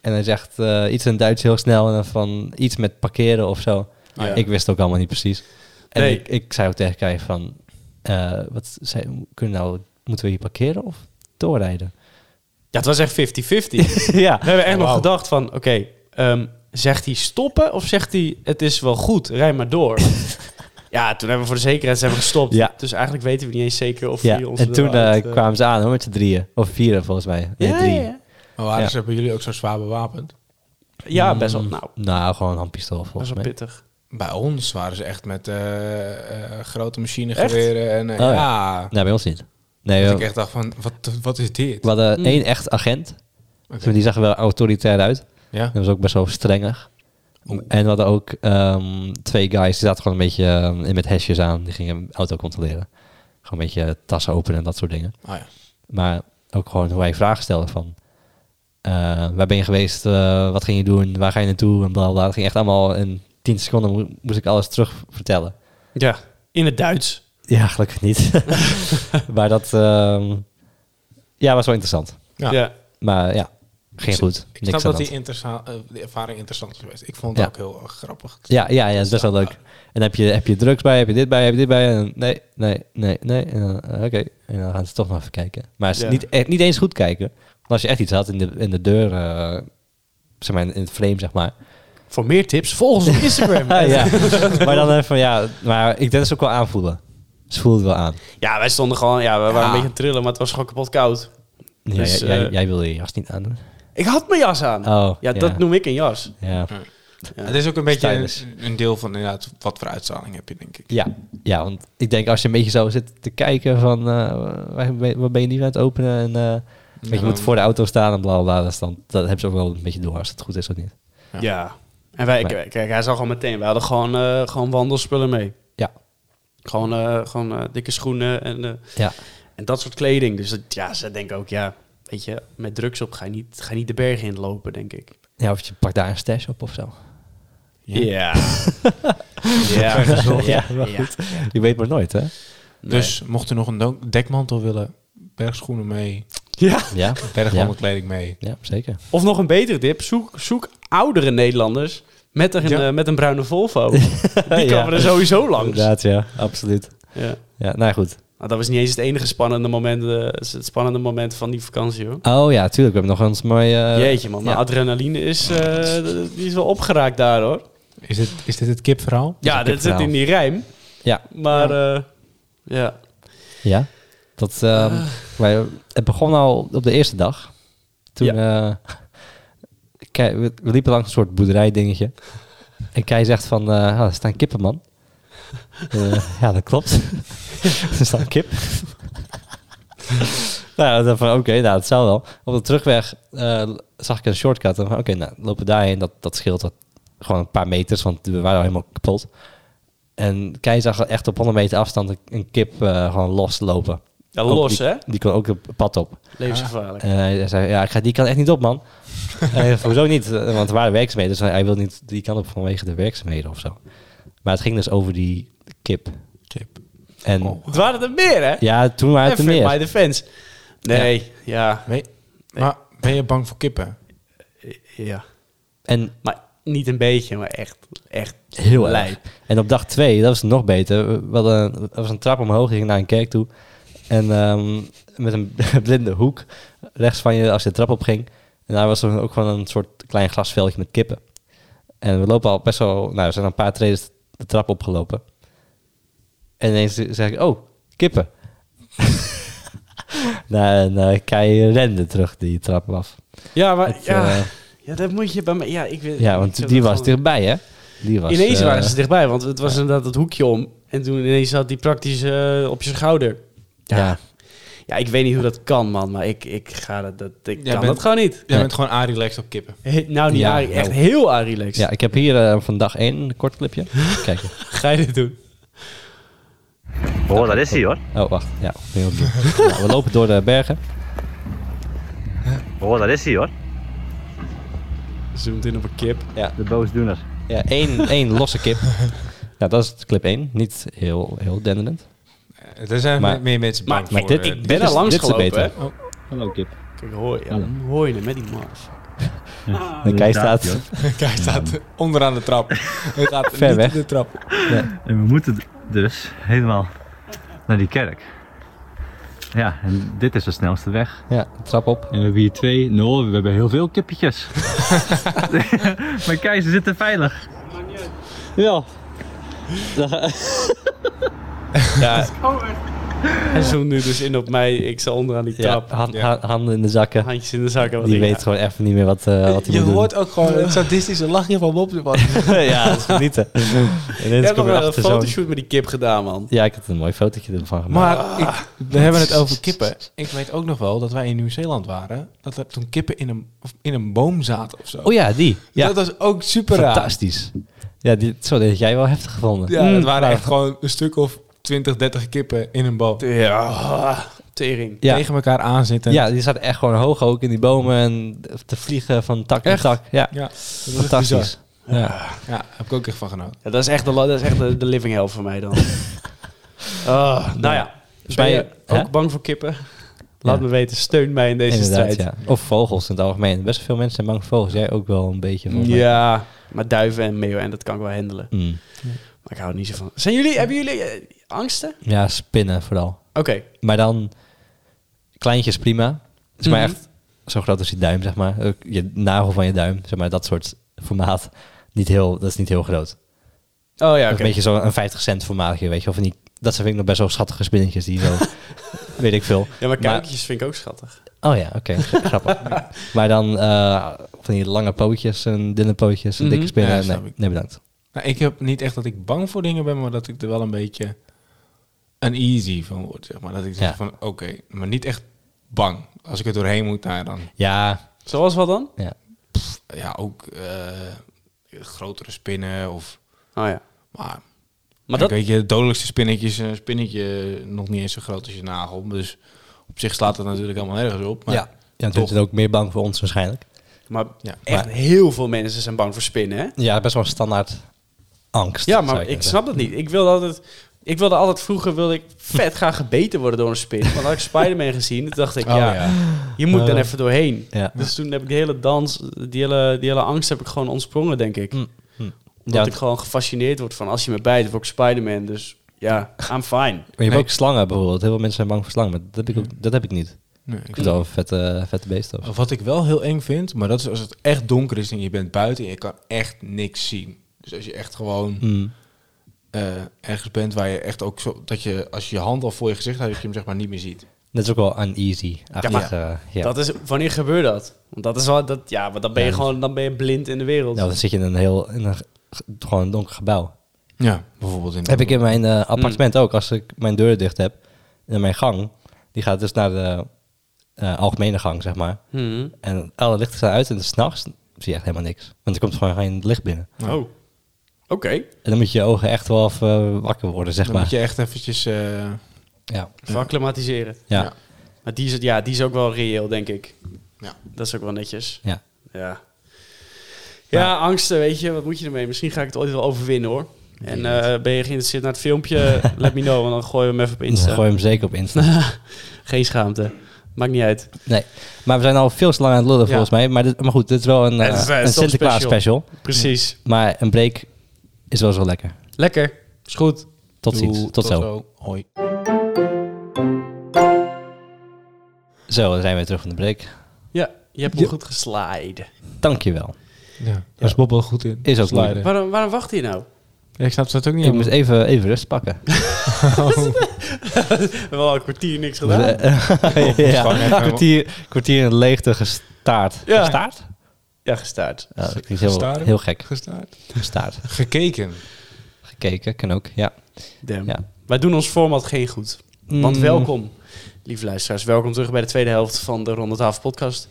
En hij zegt eh, iets in Duits heel snel. En dan van iets met parkeren of zo. Ah, Ja. Ik wist het ook allemaal niet precies. En Nee. ik, ik zei ook tegen Kai van... eh, wat zei, kunnen we nou, moeten we hier parkeren of doorrijden? Ja, het was echt 50-50. We ja. hebben echt Oh, nog wauw. gedacht van, oké, ehm, zegt hij stoppen of zegt hij het is wel goed, rij maar door. ja, toen hebben we voor de zekerheid zijn we gestopt. Ja. Dus eigenlijk weten we niet eens zeker of ja. hij ons En er toen wel uit, eh, eh, kwamen ze aan hoor, met z'n drieën. Of vieren volgens mij. Nee, Ja, drie. ja, ja. Maar waren Ja. ze hebben jullie ook zo zwaar bewapend? Ja, best wel, Mm, nou, Nou, gewoon een handpistool volgens best wel mij. pittig. Bij ons waren ze echt met eh, eh, grote machinegeweren. En, eh, Oh, ja. Nee, bij ons niet. Nee, Dat we- ik echt dacht van, wat, wat is dit? We hadden Mm. één echt agent. Dus Oké. Die zag er wel autoritair uit. Ja? Dat was ook best wel strengig. En we hadden ook ehm, twee guys, die zaten gewoon een beetje ehm, in met hesjes aan. Die gingen auto controleren. Gewoon een beetje tassen openen en dat soort dingen. Oh, ja. Maar ook gewoon hoe hij vragen stelde van... eh, waar ben je geweest? Eh, wat ging je doen? Waar ga je naartoe? En bla bla, bla. Het ging echt allemaal in tien seconden mo- moest ik alles terug vertellen. Ja, in het Duits. Ja, gelukkig niet. maar dat ehm, ja, was wel interessant. Ja. Ja. Maar ja, ging goed. Ik Niks snap aan dat de die, hand. interessa- eh, die ervaring interessant is geweest. Ik vond Ja. het ook heel eh, grappig. Ja, ja, ja, dat is best wel leuk. En heb je, heb je drugs bij, heb je dit bij, heb je dit bij? En dan, nee, nee, nee, nee. En dan, eh, oké. En dan gaan ze toch nog even kijken. Maar ze Ja. niet, eh, niet eens goed kijken. Want als je echt iets had in de, in de deur, eh, zeg maar, in het frame, zeg maar. Voor meer tips, volg ons op Instagram. Ah, ja. maar dan even van, ja, maar ik denk dat ze ook wel aanvoelen. Ze voelen het wel aan. Ja, wij stonden gewoon, ja, we waren Ja. een beetje aan het trillen, maar het was gewoon kapot koud. Ja, Dus, jij, jij- eh, jij wilde je jas niet aandoen. Ik had mijn jas aan. Oh, ja, dat noem ik een jas. Ja. Ja. Het is ook een beetje Tijdens. een, een deel van inderdaad wat voor uitstraling heb je, denk ik. Ja, ja, want ik denk als je een beetje zo zit te kijken van eh, waar ben- wat ben je nu aan het openen en eh, weet je, je Ja. moet voor de auto staan en bla bla bla. Dus dan, dat hebben ze ook wel een beetje door als het goed is of niet. Ja. Ja. En wij, Maar- kijk, hij zag al meteen, we hadden gewoon, eh, gewoon wandelspullen mee. Ja. Gewoon, eh, gewoon eh, dikke schoenen en, eh, Ja. en dat soort kleding. Dus dat- ja, ze denken ook, ja, weet je, met drugs op ga je niet, ga je niet de bergen in lopen, denk ik. Ja, of je pakt daar een stash op of zo. Ja. Ja. ja. Ja, maar goed. Je weet maar nooit, hè? Dus. Dus mocht u nog een do- dekmantel willen, bergschoenen mee, Ja. Ja, bergwandelkleding mee. ja zeker. Of nog een betere tip, zoek, zoek oudere Nederlanders met een, Ja. eh, met een bruine Volvo. Die komen Ja. er sowieso langs. Ja. Inderdaad, ja, absoluut. Ja, nou ja, goed. Nou, dat was niet eens het enige spannende moment, eh, het spannende moment van die vakantie, hoor. Oh ja, tuurlijk. We hebben nog eens mooi... eh, Jeetje man, mijn ja. adrenaline is, eh, d- die is wel opgeraakt daar hoor. Is dit, is dit het kipverhaal? Ja, een dat zit kipverhaal. in die rijm. Ja. Maar eh, ja. Ja, dat, ehm, wij, het begon al op de eerste dag. Toen, eh, Kei- we, we liepen langs een soort boerderijdingetje. En Kei zegt van, eh, ah, er staan kippen, man. Eh, ja, dat klopt. er staan kip. nou, dan dacht ik van, oké, nou, dat zou wel. Op de terugweg eh, zag ik een shortcut. En van, oké, nou, lopen we daarheen. Dat, dat scheelt wat, gewoon een paar meters, want we waren al helemaal kapot. En Kei zag echt op 100 meter afstand een, een kip eh, gewoon loslopen. ja, Ook Ah. Eh. los die- hè? Die kon ook het pad op. Levensgevaarlijk. En hij zei, ja, ik ga die kant echt niet op, man. en hoezo niet? Eh, Want er waren werkzaamheden, dus hij, hij wil niet die kant op vanwege de werkzaamheden of zo. Maar het ging dus over die kip. Kip. En Oh. Het waren er meer hè? ja, toen waren het er Even in my meer. defense. Nee, ja. Nee. Maar ben je bang voor kippen? ja. ja. En Maar niet een beetje, maar echt, echt heel erg. lijp. En op dag twee, dat was nog beter. We hadden een, er was een trap omhoog, die ging naar een kerk toe. En ehm, met een blinde hoek rechts van je als je de trap op ging. En daar was er ook gewoon een soort klein glasveldje met kippen. En we lopen al best wel, nou, we zijn al een paar treden de trap opgelopen. En ineens zeg ik, oh, kippen. nou, en eh, Kai rende terug die trap af. Ja, maar Het, ja, eh, ja, dat moet je bij mij. Ja, ik weet, ja, ik want zou die dat was gewoon- dichtbij, hè? Die was, Ineens eh, waren ze dichtbij, want het was inderdaad het hoekje om. En toen ineens zat die praktisch eh, op je schouder. ja, Ja, ik weet niet hoe dat kan, man. Maar ik, ik ga dat... dat ik Jij kan bent- dat gewoon niet. Jij Nee. bent gewoon relaxed op kippen. He- nou, niet Ja, aardig, echt nou. heel aardig. Ja, ik heb hier eh, van dag 1 een kort clipje. Kijk. Ga je dit doen? Oh, daar is hij hoor. Oh, wacht. Ja, opnieuw, opnieuw. Nou, we lopen door de bergen. Oh, daar is hij hoor. Zoomt in op een kip. De boosdoener. Ja, één, één losse kip. Nou, dat is clip 1. Niet heel, heel denderend. Er zijn Maar- meer mensen bang maar voor. Maar dit, eh, ik ben ben er al langs langs gelopen, beter. hè? Oh. Hallo kip. Kijk, hoor, ja, dan hoor je hem met die mars. Dus En Kai staat... Kijk, staat onderaan de trap. Hij gaat Ver niet weg. in de trap. En we moeten dus helemaal naar die kerk. Ja, en dit is de snelste weg. Ja, trap op. En we hebben hier twee, nul, we hebben heel veel kippetjes. maar kijk, ze zitten veilig. Ja. Ja. Hij zoomt nu dus in op mij. Ik sta onderaan die ja trap. hand- Ja. ha- handen in de zakken. Handjes in de zakken. Die weet gewoon even niet meer wat, eh, wat hij Je moet hoort ook gewoon het sadistische lachje van Bob. Want doen. ja, dat is genieten. En Je dit hebt komt nog er wel een achter zo'n... fotoshoot met die kip gedaan, man. Ja, ik had een mooi fotootje ervan gemaakt. Maar ik, we hebben het over kippen. Ik weet ook nog wel dat wij in Nieuw-Zeeland waren. Dat er toen kippen in een, of in een boom zaten of zo. Oh ja, die. Ja, Dat was ook super raar. fantastisch. Ja, die, zo, dat had jij wel heftig gevonden. Ja, Mm. het waren echt gewoon een stuk of 20, 30 kippen in een boom. Ja. ah, Tering. Ja. Tegen elkaar aanzitten. Ja, die staat echt gewoon hoog ook in die bomen en te vliegen van tak naar Echt? tak. Ja, ja dat was echt bizar. fantastisch. Ja. Ja, daar heb ik ook echt van genoten. Ja, dat is echt, de, la- dat is echt de, de living hell voor mij dan. Ah, nou ja. Ben mij- je hè? ook bang voor kippen? Laat Ja. me weten. Steun mij in deze Inderdaad, strijd. ja. Of vogels in het algemeen. Best veel mensen zijn bang voor vogels. Jij ook wel een beetje van. Ja, maar duiven en meeuwen, en dat kan ik wel handelen. Mm. Maar ik hou er niet zo van. Zijn jullie, hebben jullie eh, angsten? Ja, spinnen vooral. Oké. Maar dan, kleintjes prima. Is maar Mhm. echt zo groot als je duim, zeg maar. Ook Je nagel van je duim, zeg maar. Dat soort formaat. Niet heel, dat is niet heel groot. Oh ja, Een oké. beetje zo'n 50 cent formaatje, weet je. Of niet, dat zijn vind ik nog best wel schattige spinnetjes die zo, weet ik veel. Ja, maar kuikentjes vind ik ook schattig. Oh ja, oké. Grappig. maar dan eh, van die lange pootjes en dunne pootjes en Mhm. dikke spinnen. Ja, snap nee, ik. nee, bedankt. Nou, ik heb niet echt dat ik bang voor dingen ben, maar dat ik er wel een beetje uneasy van word, zeg maar. Dat ik zeg Ja. van, oké, maar niet echt bang. Als ik er doorheen moet, nou, ja, dan Ja, Zoals wat dan? ja. ja, ook eh, grotere spinnen of... Oh ja. Maar, Maar kijk, dat... weet je, het dodelijkste spinnetje is een spinnetje nog niet eens zo groot als je nagel. Dus op zich slaat dat natuurlijk helemaal nergens op. Maar ja. Ja, toen toch. is het ook meer bang voor ons waarschijnlijk. Maar Ja. echt Maar- heel veel mensen zijn bang voor spinnen, hè? Ja, best wel standaard angst. Ja, zou maar ik zeggen. snap dat niet. Ik wilde altijd... Ik wilde altijd vroeger wilde ik vet graag gebeten worden door een spin. Maar dan had ik Spider-Man gezien. Toen dacht ik, Oh, ja, je moet dan Eh. even doorheen. Ja. Dus toen heb ik die hele dans, die hele, die hele angst heb ik gewoon ontsprongen, denk ik. Hm, hm. Omdat Ja, ik gewoon gefascineerd word van als je me bijt, word ik Spider-Man. Dus ja, I'm fine. Maar je hebt Nee. ook slangen bijvoorbeeld. Heel veel mensen zijn bang voor slangen, maar dat heb ik, ook, dat heb ik niet. Nee, Ik ik- vind het wel een vette, vette beest. Of. Wat ik wel heel eng vind, maar dat is als het echt donker is en je bent buiten en je kan echt niks zien. Dus als je echt gewoon Mm. eh, ergens bent waar je echt ook zo dat je als je je hand al voor je gezicht houdt, dat je hem zeg maar niet meer ziet. Dat is ook wel uneasy. Ja, maar- ja. Dat is, wanneer gebeurt dat? Want dat is wel, dat, ja, want dan ben je Ja, dat- gewoon dan ben je blind in de wereld. Nou, dan zit je in een heel, in een, g- gewoon een donker gebouw. Ja, bijvoorbeeld in. heb ik in mijn eh, appartement ook, als ik mijn deur dicht heb, en mijn gang, die gaat dus naar de eh, algemene gang, zeg maar. Mhm. En alle lichten staan uit en s'nachts zie je echt helemaal niks. Want er komt gewoon geen licht binnen. Oh, oké. En dan moet je ogen echt wel even eh, wakker worden, zeg Dan maar. moet je echt eventjes. eh, Ja. Even acclimatiseren. Ja. Ja. Ja. Maar die is, het- ja, die is ook wel reëel, denk ik. Ja. Dat is ook wel netjes. ja. Ja. Ja, angsten, weet je. Wat moet je ermee? Misschien ga ik het ooit wel overwinnen, hoor. En eh, ben je geïnteresseerd naar het filmpje? let me know, want dan gooien we hem even op Dan Insta. gooi je hem zeker op Insta. Geen schaamte. Maakt niet uit. Nee, maar we zijn al veel te lang aan het lullen Ja. volgens mij. Maar, dit- maar goed, dit is wel een, Het is, eh, het eh, een is toch Sinterklaas special. special. Precies. Maar een break is wel zo lekker. Lekker. Is goed. Tot ziens. doe- Tot, zo. zo. Hoi. dan zijn we weer terug van de break. Ja, je hebt hem goed geslaaid. Dankjewel. Ja, daar is Bob wel goed in. Is ook Sliden. moeilijk. Waarom, waarom wacht je nou? Ja, ik snap dat ook niet. Ik helemaal. moest even, even rust pakken. We hebben al een kwartier niks Dus, gedaan. eh, ja, gewoon even- kwartier, kwartier in de leegte gestaard. Ja. Gestaard? Ja, gestaard. Ja, dat klinkt heel, Gestaren? heel gek. Gestaard. Gestaard. Gekeken. Gekeken, kan ook. Ja. Damn. Ja. Wij doen ons format geen goed. Want Mm. welkom, lieve luisteraars, welkom terug bij de tweede helft van de Ronde Tafel podcast.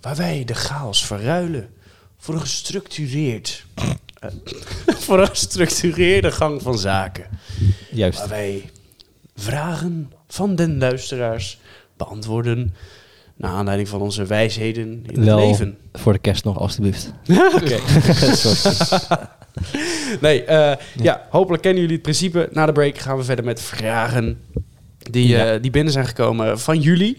Waar wij de chaos verruilen voor een gestructureerd... eh, voor een gestructureerde gang van zaken. Juist. Waar wij vragen van den luisteraars beantwoorden... naar aanleiding van onze wijsheden in Wel het leven. voor de kerst nog, alstublieft. Nee, eh, ja. hopelijk kennen jullie het principe. Na de break gaan we verder met vragen die, Ja. eh, die binnen zijn gekomen van jullie.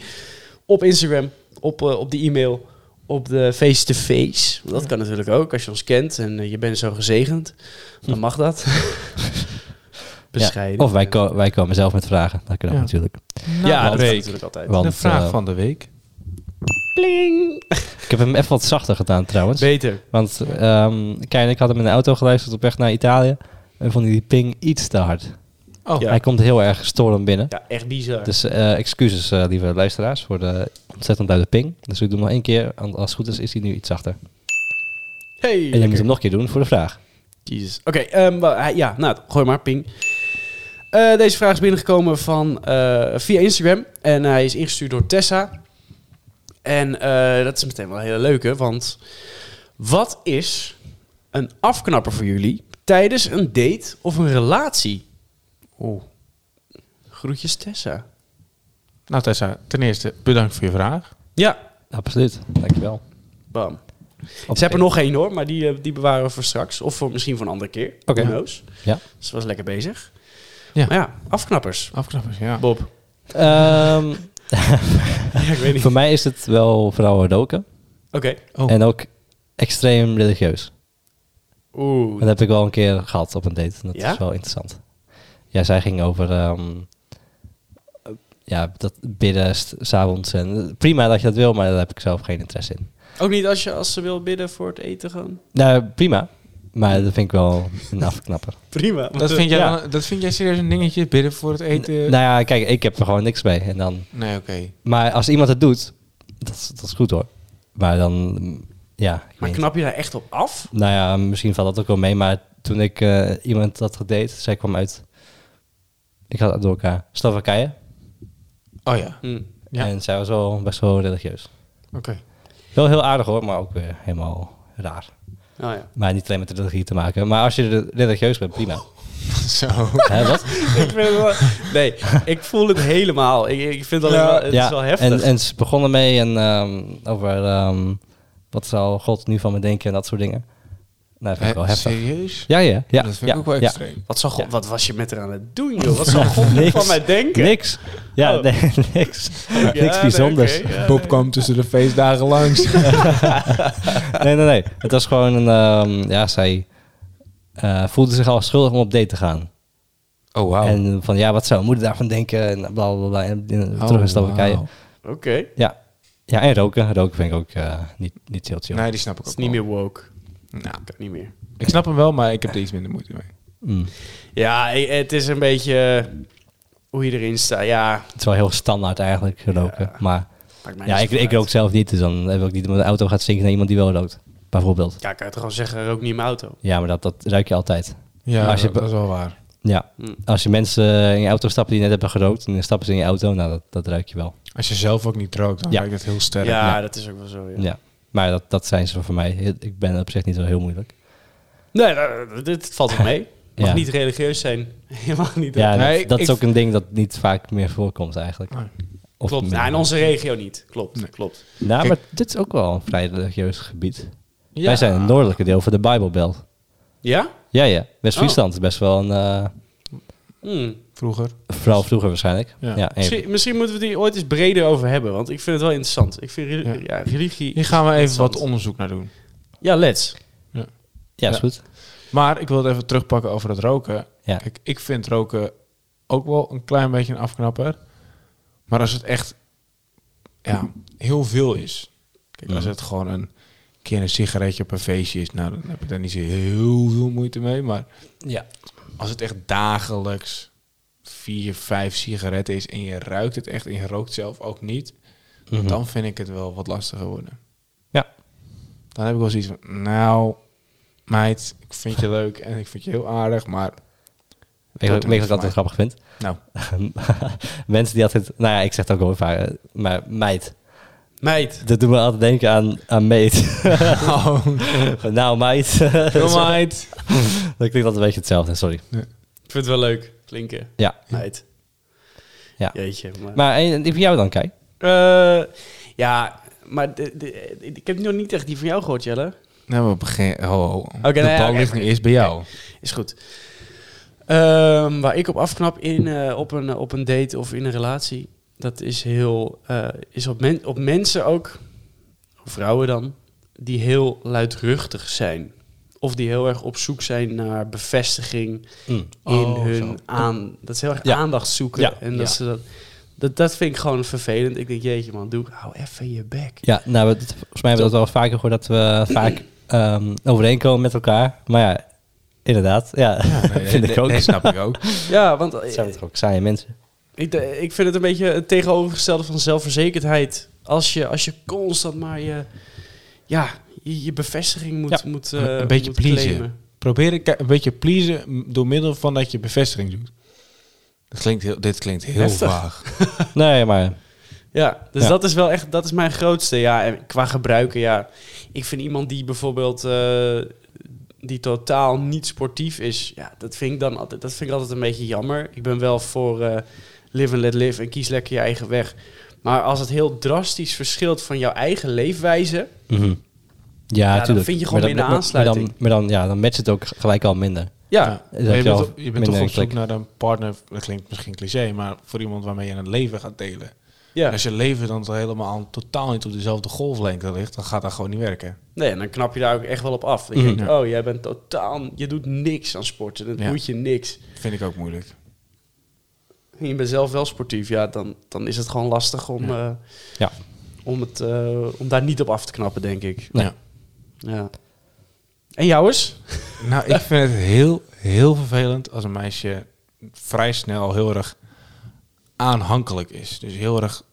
Op Instagram, op, eh, op de e-mail, op de face-to-face. Want Dat kan natuurlijk ook, als je ons kent en eh, je bent zo gezegend. Dan mag dat. Bescheiden. Ja. Of wij, ko- wij komen Nou, zelf met vragen. Dat kan ook Ja. natuurlijk. ja, dat kan break. natuurlijk altijd. Want, de vraag eh, van de week. Pling. Ik heb hem even wat zachter gedaan trouwens. Beter. Want ehm Kei en ik hadden hem in de auto geluisterd op weg naar Italië. En vonden die ping iets te hard. Oh, Ja. Hij komt heel erg storend binnen. Ja, echt bizar. Dus eh, excuses, eh, lieve luisteraars, voor de ontzettend luide ping. Dus ik doe hem nog één keer. En als het goed is, is hij nu iets zachter. hey, En je moet lekker. hem nog een keer doen voor de vraag. Jezus. Oké, ehm, wel, hij- ja, nou, gooi maar, ping. Eh, deze vraag is binnengekomen van, eh, via Instagram. En hij is ingestuurd door Tessa. En eh, dat is meteen wel een hele leuke, want... Wat is een afknapper voor jullie tijdens een date of een relatie? Oeh. Groetjes Tessa. Nou Tessa, ten eerste bedankt voor je vraag. Ja, Absoluut. Dankjewel. bam. Op- Ze hebben er nog één hoor, maar die, eh, die bewaren we voor straks. Of voor, misschien voor een andere keer. Oké. Who knows? Ja. Ze was lekker bezig. Ja. Maar ja, afknappers. Afknappers, ja. Bob. Ehm, Ja, ik weet niet. voor mij is het wel vooral roken. Oké. Oh. En ook extreem religieus. Oeh. Dat heb ik wel een keer gehad op een date. En Dat Ja? is wel interessant. Ja, zij ging over ehm, eh, ja, dat bidden s- s'avonds. En eh, prima dat je dat wil, maar daar heb ik zelf geen interesse in. Ook niet als, je, als ze wil bidden voor het eten gewoon. Nou, prima. Maar dat vind ik wel een afknapper. Prima. Dat vind, jij Ja. wel- dat vind jij serieus een dingetje? Bidden voor het eten? N- nou ja, kijk, ik heb er gewoon niks mee. En dan, nee, oké. maar als iemand het doet, dat, is- dat is goed hoor. Maar dan, mm, ja, ik Maar weet knap je daar echt op af? niet. Nou ja, misschien valt dat ook wel mee. Maar toen ik eh, iemand dat gedate, zij kwam uit... Ik had het door elkaar. Slowakije. Oh ja, Hm. Ja. En zij was wel best wel religieus. oké. Wel heel aardig hoor, maar ook weer helemaal raar. Oh, ja. Maar niet alleen met de religie te maken. Maar als je re- religieus bent, prima. Zo. Hè, wat? ik vind het wel- nee, ik voel het helemaal. Ik, ik vind het, alleen wel, het is wel heftig. En, en ze begonnen mee en, ehm, over ehm, wat zou God nu van me denken en dat soort dingen. Nou, dat vind ik wel Hè, heftig. Serieus? Ja, ja, ja. Dat vind ja, ik ook wel ja. extreem. wat, zou God, wat was je met haar aan het doen, joh? Wat zou God nu Niks. van mij denken? Niks. Ja, Oh. nee, niks. Ja, niks nee, bijzonders. oké, ja, Bob nee. kwam tussen de feestdagen langs. Nee, nee, nee. Het was gewoon een... ehm, ja, zij eh, voelde zich al schuldig om op date te gaan. Oh, wauw. En van, ja, wat zou moeder daarvan denken? En bla, bla, bla. En, en Oh, terug in Slowakije. wauw. Oké, Ja. ja, en roken. Roken vind ik ook eh, niet, niet heel chill. Nee, die snap ik het ook is niet wel. meer woke. Nou, Kan niet meer. ik snap hem wel, maar ik heb er iets minder moeite mee. Mm. Ja, eh, het is een beetje eh, hoe je erin staat. Ja, Het is wel heel standaard eigenlijk, roken. Maar maakt mij ja, niet ik, zoveel ik uit. rook zelf niet. Dus dan heb ik ook niet dat mijn auto gaat stinken naar iemand die wel rookt. Bijvoorbeeld. Ja, ik kan het gewoon zeggen, rook niet in mijn auto. Ja, maar dat, dat ruik je altijd. Ja, Maar als je dat, dat is wel waar. Ja. Hm. Als je mensen in je auto stappen die net hebben gerookt... en dan stappen ze in je auto, nou, dat, dat ruik je wel. Als je zelf ook niet rookt, dan Ja. lijkt het heel sterk. Ja, dat is ook wel zo. Ja. Ja. Maar dat, dat zijn ze voor mij. Ik ben op zich niet zo heel moeilijk. Nee, nou, dit- dit valt wel mee. Mag Ja. niet religieus zijn. Je mag niet. Ja, Nee, dat, ik- dat is ik- ook een ding dat niet vaak meer voorkomt eigenlijk. Nee. Of klopt. minder. Nou, in onze regio niet. Klopt. Nee. Klopt. Nou, maar Kijk. dit is ook wel een vrij religieus gebied. Ja. Wij zijn het noordelijke deel van de Bijbelbelt. Ja? Ja, ja. West-Friesland Oh. is best wel een... eh, Hm. Vroeger. Vooral vroeger waarschijnlijk. Ja. Ja. Misschien, misschien moeten we het hier ooit eens breder over hebben, want ik vind het wel interessant. Ik vind re- Ja. ja. religie... Hier gaan we even Interessant. wat onderzoek naar doen. Ja, let's. ja, is Ja. goed. Maar ik wil het even terugpakken over het roken. Ja. Kijk, ik vind roken ook wel een klein beetje een afknapper. Maar als het echt ja, heel veel is. Kijk, als Ja. het gewoon een keer een sigaretje op een feestje is, nou, dan heb ik daar niet zo heel veel moeite mee. Maar Ja. als het echt dagelijks vier, vijf sigaretten is en je ruikt het echt en je rookt zelf ook niet, dan vind ik het wel wat lastiger worden. Mhm. Ja. Dan heb ik wel zoiets van, nou, meid, ik vind je leuk en ik vind je heel aardig, maar Weet je wat- weet je wat ik altijd grappig vind? nou, Mensen die altijd... Nou ja, ik zeg het ook wel vaak. eh, Maar meid. Meid. Dat doet me altijd denken aan, aan meid. Van, nou, meid. Heel Oh. meid. dat klinkt altijd een beetje hetzelfde. Sorry. Ik vind het wel leuk. Klinken. Ja. Meid. Ja. Jeetje. Maar, Maar en, die van jou dan, Kai? Eh, ja, maar de- de- ik heb nog niet echt die van jou gehoord, Jelle. Nou, we beginnen. Oh, oh. nou de ja, bal oké. ligt nu eerst bij jou. Is goed. Ehm, waar ik op afknap in, eh, op, een, op een date of in een relatie, dat is heel. eh, is op, men, op mensen ook, vrouwen dan, die heel luidruchtig zijn. Of die heel erg op zoek zijn naar bevestiging in Oh, hun zo. aan. Dat ze heel erg Ja. aandacht zoeken. Ja, En dat, ja. ze dat, dat, dat vind ik gewoon vervelend. Ik denk, jeetje man, doe, hou even je bek. Ja, nou, we- dat- volgens mij hebben we dat wel vaker gehoord. Dat we vaak ehm, overeenkomen met elkaar. Maar ja, inderdaad. Ja, vind ik ook. Nee, snap ik ook. Ja, want eh, Dat zijn we toch ook saaie mensen. Ik, de- ik vind het een beetje het tegenovergestelde van zelfverzekerdheid. Als je, als je constant maar je, ja, je, je bevestiging moet, Ja, moet een- eh, een beetje moet pleasen. claimen. Probeer ik een beetje pleasen m- door middel van dat je bevestiging doet. Dat klinkt heel, dit klinkt heel Heftig. vaag. Nee, maar... Ja, dus Ja. dat is wel echt dat is mijn grootste. Ja, en qua gebruiken, ja. Ik vind iemand die bijvoorbeeld eh, die totaal niet sportief is, ja, dat vind ik dan altijd, dat vind ik altijd een beetje jammer. Ik ben wel voor eh, live and let live en kies lekker je eigen weg. Maar als het heel drastisch verschilt van jouw eigen leefwijze, Mhm. Ja, dan tuurlijk. vind je gewoon Maar dan- minder maar- Maar aansluiting. dan, maar dan, ja, dan matcht het ook gelijk al minder. ja. Ja. Maar Je zelf bent, je bent minder toch op een zoek klik. naar een partner. Dat klinkt misschien cliché, maar voor iemand waarmee je het leven gaat delen. ja. Als je leven dan toch helemaal totaal niet op dezelfde golflengte ligt, dan gaat dat gewoon niet werken. Nee, en dan knap je daar ook echt wel op af. Dat je Mhm. denkt, oh, jij bent totaal... Je doet niks aan sporten. Dat Ja. doet je niks. Vind ik ook moeilijk. En je bent zelf wel sportief. Ja, dan, dan is het gewoon lastig om... eh, Ja. Om, het, eh, om daar niet op af te knappen, denk ik. Nee. Ja. Ja. En jou eens? Nou, ik vind het heel, heel vervelend als een meisje vrij snel heel erg aanhankelijk is. Dus heel erg,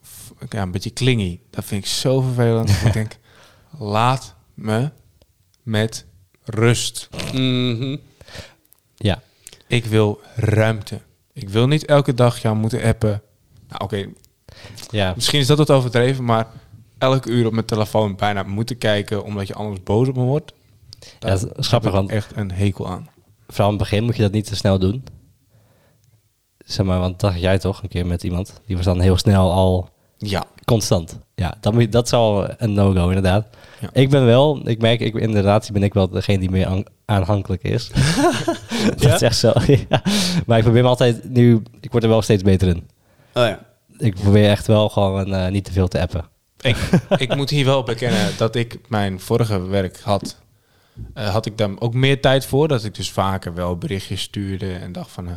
ja, een beetje klingy. Dat vind ik zo vervelend. ik denk, laat me met rust. Mhm. Ja. Ik wil ruimte. Ik wil niet elke dag jou moeten appen. Nou, oké, Ja. misschien is dat wat overdreven, maar elk uur op mijn telefoon bijna moeten kijken omdat je anders boos op me wordt. Ja, dat is grappig, heb ik want- echt een hekel aan. Vooral in het begin moet je dat niet te snel doen. Zeg maar, want dat had jij toch een keer met iemand. Die was dan heel snel al Ja. constant. Ja, dat, moet je- dat is al een no-go inderdaad. Ja. Ik ben wel, ik merk, ik, in de relatie ben ik wel degene die meer aan- aanhankelijk is. dat is echt zo. ja. Maar ik probeer me altijd nu, ik word er wel steeds beter in. Oh ja. Ik probeer echt wel gewoon eh, niet te veel te appen. Ik, ik moet hier wel bekennen dat ik mijn vorige werk had. eh, had ik daar ook meer tijd voor. Dat ik dus vaker wel berichtjes stuurde en dacht van... eh,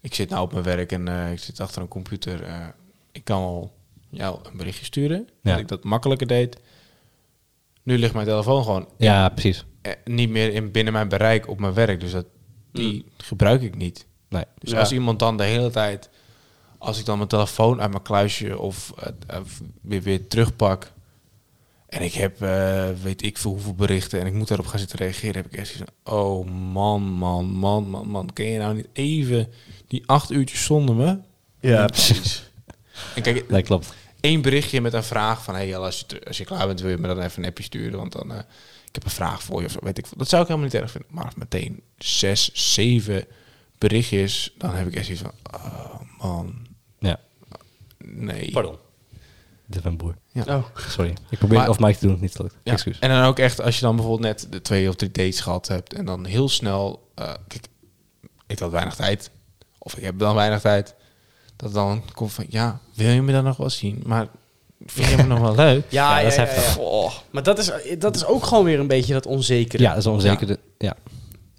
ik zit nou op mijn werk en eh, ik zit achter een computer. eh, ik kan al jou een berichtje sturen. Ja. Dat ik dat makkelijker deed. Nu ligt mijn telefoon gewoon Ja, precies. eh, niet meer in, binnen mijn bereik op mijn werk. Dus dat, die gebruik ik niet. Nee. Dus Ja. als iemand dan de hele tijd, als ik dan mijn telefoon uit mijn kluisje of eh, of weer, weer terugpak. En ik heb, eh, weet ik veel hoeveel berichten en ik moet daarop gaan zitten reageren. Heb ik echt zoiets van, oh man, man, man, man, man. Kun je nou niet even die acht uurtjes zonder me? Ja, precies. En kijk, Nee, klopt. één berichtje met een vraag van... hey, Jelle, als, je, ter- als je klaar bent, wil je me dan even een appje sturen? Want dan, eh, ik heb een vraag voor je of zo, weet ik veel. Dat zou ik helemaal niet erg vinden. Maar meteen zes, zeven berichtjes, dan heb ik echt iets van... Oh, man, Ja. nee. Pardon. Dit ben boer. Ja. Oh. Sorry. Ik probeer Maar- of Mike te doen, niet gelukt. Ja, Excuus. En dan ook echt, als je dan bijvoorbeeld net de twee of drie dates gehad hebt... en dan heel snel... eh, kijk, ik had weinig tijd. Of ik heb dan weinig tijd. Dat dan komt van, ja, wil je me dan nog wel zien? Maar vind je me nog wel leuk? Ja, Ja, ja, dat is ja, heftig. ja. Oh, Maar dat is, dat is ook gewoon weer een beetje dat onzekere. Ja, dat is onzeker. Ja.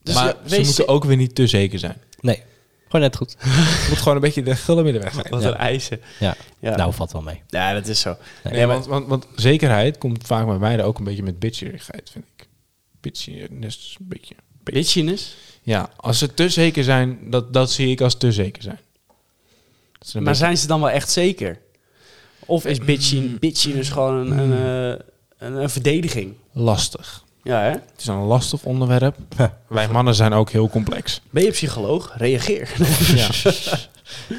Dus maar we- ze wees- moeten ook weer niet te zeker zijn. Nee. Gewoon net goed. Het moet gewoon een beetje de gulle middenweg zijn. Wat Ja. een eisen. Ja. Ja. Nou, valt wel mee. Ja, dat is zo. Nee, Nee, want, want, want zekerheid komt vaak bij mij er ook een beetje met bitcherigheid, vind ik. Bitchiness, een beetje. Bitchiness. Ja, als ze te zeker zijn, dat, dat zie ik als te zeker zijn. Dat is een Maar beetje- zijn ze dan wel echt zeker? Of is bitchin- bitchiness gewoon een, een, eh, een, een verdediging? lastig. Ja, hè? Het is een lastig onderwerp. Wij mannen zijn ook heel complex. Ben je psycholoog? Reageer. Ja.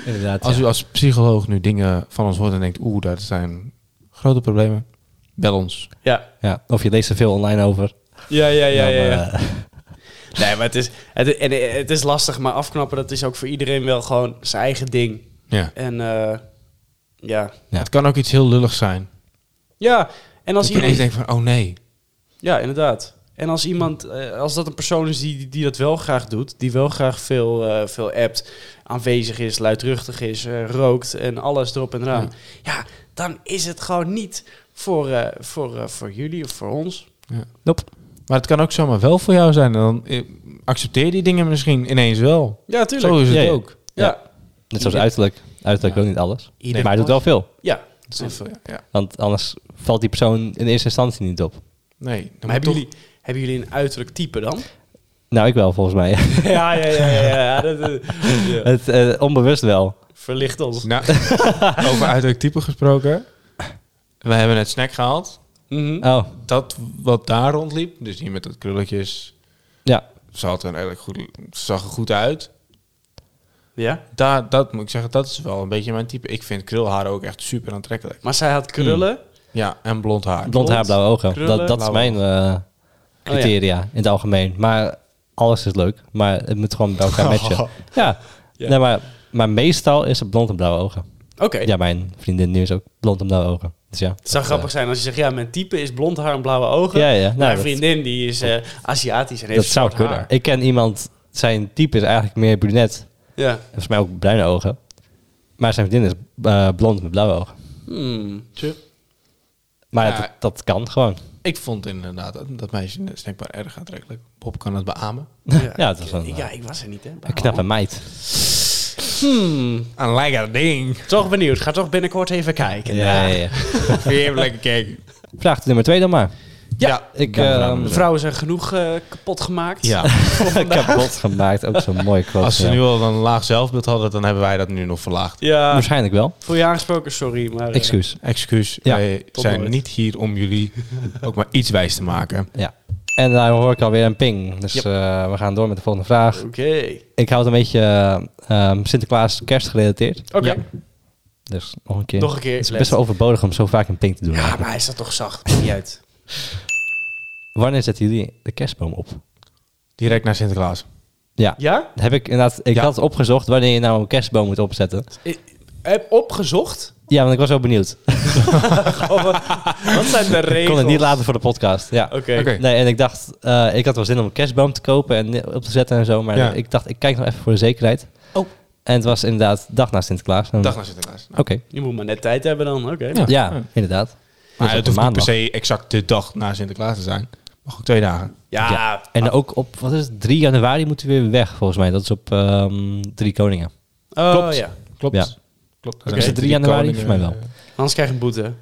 Inderdaad. Als ja. u als psycholoog nu dingen van ons hoort en denkt, oeh, dat zijn grote problemen, bel ons. ja. Ja, Of je leest er veel online over. Ja, ja, ja, dan, ja. ja. eh, Nee, maar het is, het, en, eh, het is lastig, maar afknappen, dat is ook voor iedereen wel gewoon zijn eigen ding. Ja. En eh, ja. Ja. Het kan ook iets heel lulligs zijn. Ja, en als Als iedereen iemand... denkt van, oh nee, Ja, inderdaad. En als iemand, eh, als dat een persoon is die, die dat wel graag doet, die wel graag veel, eh, veel appt, aanwezig is, luidruchtig is, eh, rookt en alles erop en eraan. Ja, dan is het gewoon niet voor, eh, voor, eh, voor jullie of voor ons. nope. Maar het kan ook zomaar wel voor jou zijn. En dan eh, accepteer die dingen misschien ineens wel. Ja, Zo is het Ja, ja. ook. Ja, Net zoals uiterlijk. Uiterlijk Ja. ook niet alles. Ieder maar hij doet wel veel. ja. eh, Ja. Want anders valt die persoon in eerste instantie niet op. Nee, dan moet Maar hebben toch- jullie, hebben jullie een uiterlijk type dan? Nou, ik wel volgens mij. ja, ja, ja, ja. ja, dat, eh, ja. Het, eh, onbewust wel. Verlicht ons. Nou, over uiterlijk type gesproken. We hebben net snack gehaald. Mhm. Oh, Dat wat daar rondliep, dus die met dat krulletjes, ja. ze had een eigenlijk goed, ze zag er goed uit. Ja. Daar, dat moet ik zeggen, dat is wel een beetje mijn type. Ik vind krulharen ook echt super aantrekkelijk. Maar zij had krullen. Ja, en blond haar. Blond haar, Blond, blauwe ogen. krullen, dat, dat is blauwe Oh, mijn eh, criteria in het algemeen. Maar alles is leuk. Maar het moet gewoon bij elkaar matchen. Oh. Ja. Ja. Nee, maar, maar meestal is het blond en blauwe ogen. Oké. Ja, mijn vriendin nu is ook blond en blauwe ogen. Dus ja. Het zou Dat, grappig zijn als je zegt, ja, mijn type is blond haar en blauwe ogen. Ja, ja. Nou, Mijn dat- vriendin die is eh, Aziatisch en eh, heeft dat zou zwart kunnen. haar. Ik ken iemand, zijn type is eigenlijk meer brunet. Ja. En volgens mij ook bruine ogen. Maar zijn vriendin is eh, blond met blauwe ogen. Hmm. Maar Ja. dat, dat kan gewoon. Ik vond inderdaad dat, dat meisje in de snackbar erg aantrekkelijk. Bob kan het beamen. Ja, Ja, dat is wel een, ik, ja, ik was er niet, hè. Een Oh. knappe meid. Hmm. Een lekker ding. Toch benieuwd. Ga toch binnenkort even kijken. Ja, ja, ja. Weer even lekker kijken. Vraag nummer twee dan maar. Ja, Ik Ja, ehm, De vrouwen zijn genoeg eh, kapot gemaakt. Ja, kapot gemaakt. Ook zo'n mooie quote. als ze ja. nu al een laag zelfbeeld hadden, dan hebben wij dat nu nog verlaagd. ja. Waarschijnlijk wel. Voor je aangesproken, sorry. Maar, eh, Excuus. Excuus, Ja, wij tot zijn nooit. niet hier om jullie ook maar iets wijs te maken. En daar hoor ik alweer een ping. Dus eh, we gaan door met de volgende vraag. Oké. Ik hou het een beetje eh, ehm, Sinterklaas kerst gerelateerd. Oké, Ja. Dus nog een keer. nog een keer. Het is les. best wel overbodig om zo vaak een ping te doen. Ja, maar hij staat toch zacht. Maakt Niet uit. Wanneer zetten jullie de kerstboom op? Direct naar Sinterklaas. Ja. Ja? Heb ik inderdaad, ik Ja. had opgezocht wanneer je nou een kerstboom moet opzetten. Ik heb opgezocht. Ja, want ik was wel benieuwd. Oh, wat, wat zijn de regels? Ik kon het niet laten voor de podcast. Ja. Oké. Oké. Nee, en ik dacht, eh, ik had wel zin om een kerstboom te kopen en eh, op te zetten en zo. Maar Ja. ik dacht, ik kijk nog even voor de zekerheid. Oh. En het was inderdaad dag na Sinterklaas. En- Dag naar Sinterklaas. Nou, Oké. Je moet maar net tijd hebben dan. Oké. Ja, inderdaad. Maar Dat is op het hoeft niet per maandag. se exact de dag na Sinterklaas te zijn. Mag ook twee dagen. Ja. Ja. En ook op, wat is het, 3 januari moeten we weer weg volgens mij. Dat is op ehm Drie Koningen. Oh Klopt. ja. Klopt. Ja. Klopt. Is het 3 januari? Volgens mij wel. Anders krijg je een boete.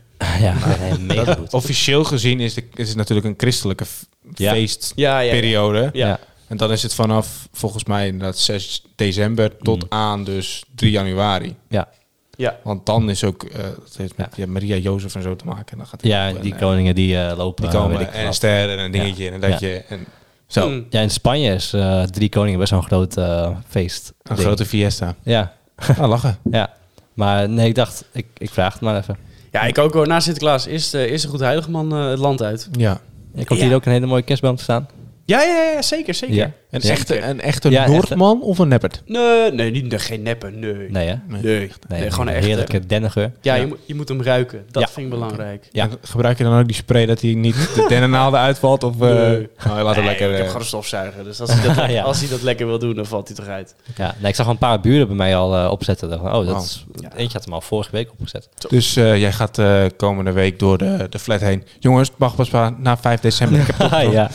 ja, nee, mega goed. eh, Officieel gezien is, de, is het natuurlijk een christelijke f- Ja. feestperiode. Ja, ja. ja. Ja. Ja. En dan is het vanaf volgens mij inderdaad 6 december tot Mm. aan dus 3 januari. Ja. Ja. Want dan is ook, eh dat heeft met ja, Maria Jozef en zo te maken. En dan gaat het Ja, op en, die eh, koningen die eh, lopen. die eh, komen weet ik en een wat. ster en een dingetje en een datje. En Hmm. zo, Mm. Ja, in Spanje is eh, Drie Koningen best wel een groot eh, feest. een ding. grote fiesta. Ja, Ah, lachen. ja. Maar nee, ik dacht, ik, ik vraag het maar even. Ja, ik ook hoor. Na Sinterklaas is de, is de Goed Heiligman eh, het land uit. Ja. Er komt Ja. hier ook een hele mooie kerstboom te staan. Ja, ja, ja, zeker, zeker. Ja. Een Ja. echte, een echte Ja, een echte. Noordman of een neppert? Nee, nee, niet, nee, geen neppen, nee. Nee, Nee, hè? nee. Nee, gewoon een een echte. heerlijke dennengeur. Ja, Je, Ja. moet, je moet hem ruiken. Dat Ja. vind ik belangrijk. Ja. En gebruik je dan ook die spray dat hij niet de dennennaalden uitvalt? Of, eh Nee. Nou, laat het Nee, lekker... ik heb eh, gewoon een stofzuiger. Dus als hij, dat, Ja. als hij dat lekker wil doen, dan valt hij toch uit. Ja, nee, ik zag al een paar buren bij mij al eh, opzetten. Dacht, van, oh, dat Wauw. is, eentje had hem al vorige week opgezet. Dus eh, jij gaat eh, komende week door de, de flat heen. Jongens, het mag pas pa- na 5 december. Ik heb toch Ah, ja,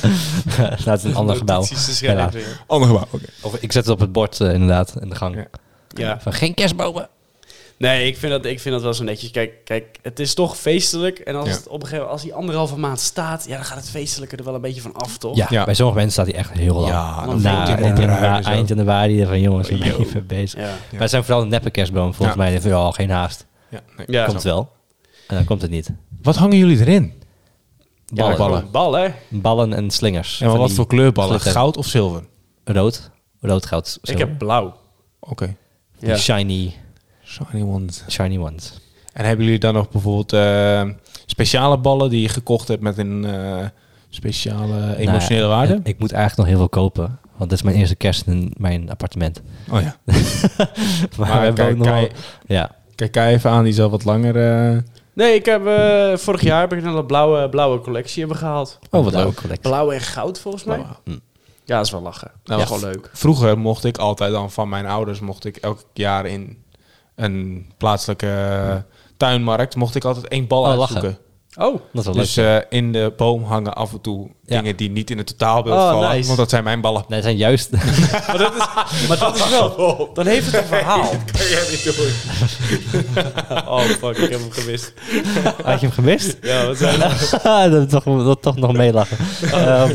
nou, het is een ander gebouw. Notities te schrijven Ja. weer. ander gebouw. Oké. Of, ik zet het op het bord eh, inderdaad, in de gang. Ja. Ja. Van geen kerstbomen. Nee, ik vind, dat, ik vind dat wel zo netjes. Kijk, kijk het is toch feestelijk. En als Ja. het op een gegeven moment, als die anderhalve maand staat, ja, dan gaat het feestelijke er wel een beetje van af, toch? Ja, Ja. bij sommige mensen staat hij echt heel lang. dan Na, Ja, voelt hij eind, hem januari- ruilen zo. eind januari van jongens, we zijn Yo. even bezig. Ja. Ja. Maar het zijn vooral neppe kerstbomen volgens Ja. mij. Die hebben al geen haast. Ja, nee. Ja. komt wel. En dan komt het niet. Wat hangen jullie erin? Ballen. ballen. Gewoon ballen. Ballen en slingers. En Van wat die voor kleurballen? glitter- Goud of zilver? Rood. Rood goud. Ik heb blauw. Oké. ja. shiny, Shiny ones. shiny ones. En hebben jullie dan nog bijvoorbeeld eh, speciale ballen die je gekocht hebt met een eh, speciale emotionele Nou ja, waarde? Ik, ik moet eigenlijk nog heel veel kopen. Want dit is mijn eerste kerst in mijn appartement. Oh ja. Maar, Maar we eh, hebben kijk, ook nog wel- kijk, Ja. kijk Kai even aan, die zal wat langer... eh, Nee, ik heb, eh, vorig jaar heb ik een blauwe, blauwe collectie hebben gehaald. Oh, wat leuk. Collectie. Blauw en goud volgens mij. Ja, dat is wel lachen. Dat Nou, is ja. gewoon leuk. Vroeger mocht ik altijd dan van mijn ouders, mocht ik elk jaar in een plaatselijke eh, tuinmarkt, mocht ik altijd één bal Oh, lachen. uitzoeken. Oh, Dat is wel Dus leuk. eh, in de boom hangen af en toe Ja. dingen die niet in het totaalbeeld Oh, vallen, nice. want dat zijn mijn ballen. Nee, het zijn juist... maar dat is, maar dat is Oh. wel... Dan heeft het een verhaal. Oh, fuck, ik heb hem gemist. Had je hem gemist? Ja, wat zijn dat, toch, dat toch nog meelachen. Ehm,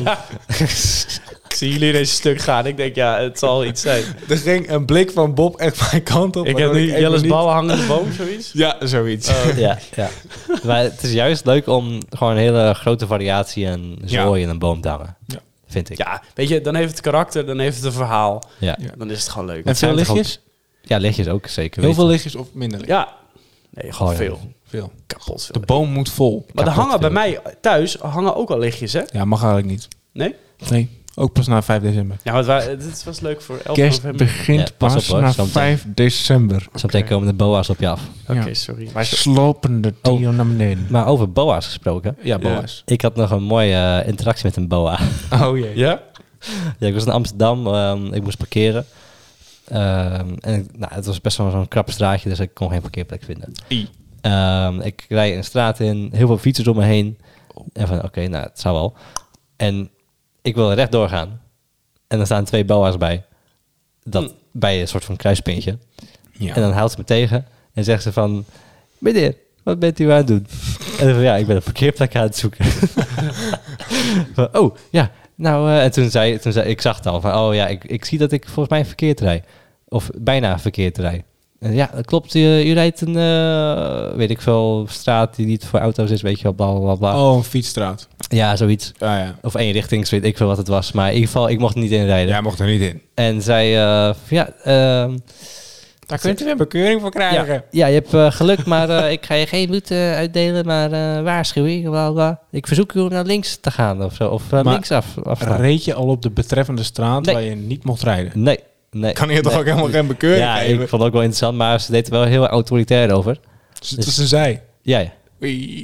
Ik zie jullie deze stuk gaan. Ik denk, ja, het zal iets zijn. Er ging een blik van Bob echt mijn kant op. Ik heb nu Jelle's ballen hangende boom, zoiets. Ja, zoiets. ja, ja. Maar het is juist leuk om gewoon een hele grote variatie en zooi in een boom te hangen. Ja. Vind ik. Ja, weet je, dan heeft het karakter, dan heeft het een verhaal. Ja, Ja. Dan is het gewoon leuk. en veel zijn toch ook- lichtjes? ja lichtjes ook zeker. Heel weten. veel lichtjes of minder lichtjes? Ja. Nee, gewoon Goh, veel. Veel. Kapot Oh, De veel. boom moet vol. Maar er kapot hangen bij veel. mij thuis hangen ook al lichtjes, hè? Ja, mag eigenlijk niet. Nee? Nee, ook pas na 5 december. Ja, maar het wa- dit was leuk voor 11 Kerst november. begint Ja, pas pas, op, hoor, na zometeen. 5 december. Zometeen komen de boa's op je af. Oké, Ja. sorry. Wij slopen de Oh. tien naar beneden. Maar over boa's gesproken. Ja, boa's. Ik had nog een mooie eh, interactie met een boa. Oh jee. Ja? ja, ik was in Amsterdam. ehm, ik moest parkeren. Ehm, en ik- nou, het was best wel zo'n krap straatje, dus ik kon geen parkeerplek vinden. I. Ehm, ik rijd een straat in, heel veel fietsers om me heen. En van, oké, nou, het zou wel. En ik wil rechtdoor gaan. En er staan twee boa's bij. Dat, Bij een soort van kruispintje. Ja. En dan haalt ze me tegen en zegt ze van... Meneer, Wat bent u aan het doen? En dan van, ja, ik ben een parkeerplek aan het zoeken. Van, oh, ja. Nou, eh, en toen zei, toen zei ik zag het al van, oh ja, ik, ik zie dat ik volgens mij verkeerd rijd. Of bijna verkeerd rijd. En ja, dat klopt. U, u rijdt een, eh, weet ik veel, straat die niet voor auto's is, weet je wel, bla bla bla. Oh, een fietsstraat. Ja, zoiets. Ah, ja. Of één richting, weet ik veel wat het was. Maar in ieder geval, ik mocht er niet inrijden. Jij mocht er niet in. En zij, eh, van, ja, ehm, Daar kunt u een bekeuring voor ja, krijgen. ja, je hebt eh, geluk, maar eh, ik ga je geen boete uitdelen, maar eh, waarschuwing, bla bla. Ik verzoek u om naar links te gaan of zo, of eh, Maar- linksaf. af. te gaan. Reed je al op de betreffende straat Nee. waar je niet mocht rijden? nee, nee. Kan je toch nee. ook helemaal geen bekeuring Ja, ik geven? vond het ook wel interessant, maar ze deed er wel heel autoritair over. Zit tussen zij. Ja, ja.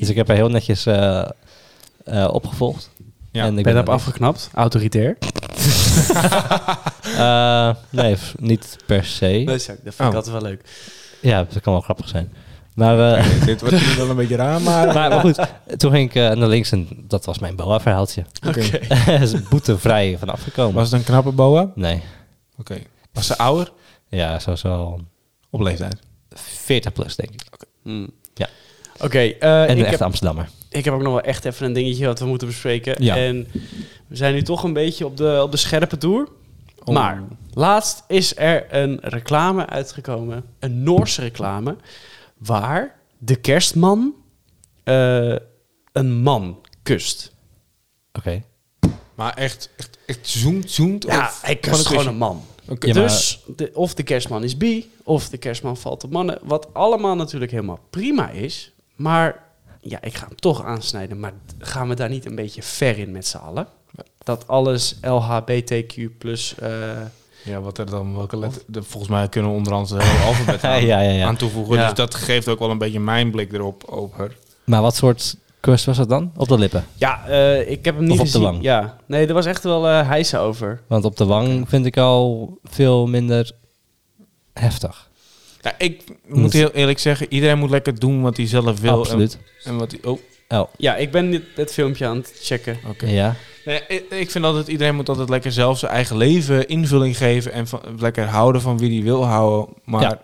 Dus ik heb haar heel netjes eh, eh, opgevolgd. Ja, en ik ben heb er- afgeknapt, autoritair. Eh, nee, f- niet per se. dat vind ik Oh. altijd wel leuk. Ja, dat kan wel grappig zijn. Maar eh, Dit wordt nu wel een beetje raar, maar... maar, maar goed, toen ging ik eh, naar links en dat was mijn boa-verhaaltje. Oké. Is boetevrij vanaf gekomen. Was het een knappe boa? Oké. Nee, Was ze ouder? ja, sowieso al Op leeftijd. 40 plus, denk ik. Hmm. Ja. Oké, eh, En een ik, echte heb, Amsterdammer. ik heb ook nog wel echt even een dingetje wat we moeten bespreken. Ja. En we zijn nu toch een beetje op de, op de scherpe toer. Oh. Maar laatst is er een reclame uitgekomen, een Noorse reclame, waar de kerstman eh, een man kust. Oké. Maar echt, echt, echt zoent, zoent? Ja, of hij kust gewoon kusje? een man. Oké. Ja, maar- dus de, of de kerstman is bi, of de kerstman valt op mannen. Wat allemaal natuurlijk helemaal prima is. Maar ja, ik ga hem toch aansnijden. Maar gaan we daar niet een beetje ver in met z'n allen? Dat alles LHBTQ plus... eh, Ja, wat er dan welke letter? de- Volgens mij kunnen we onderhand het hele alfabet aan, Ja, ja, ja. aan toevoegen. Ja. Dus dat geeft ook wel een beetje mijn blik erop over. Maar wat soort kus was dat dan? Op de lippen. ja, eh, ik heb hem niet Of op de gezien. wang. Ja, nee, er was echt wel eh hijsen over. Want op de wang vind ik al veel minder heftig. Ja, ik moet heel eerlijk zeggen, iedereen moet lekker doen wat hij zelf wil. Absoluut. En, en wat hij... Oh, Oh, Ja, ik ben dit, dit filmpje aan het checken. Oké. ja. Nou ja, ik- ik vind altijd, iedereen moet altijd lekker zelf zijn eigen leven invulling geven en van, lekker houden van wie die wil houden. Maar Ja.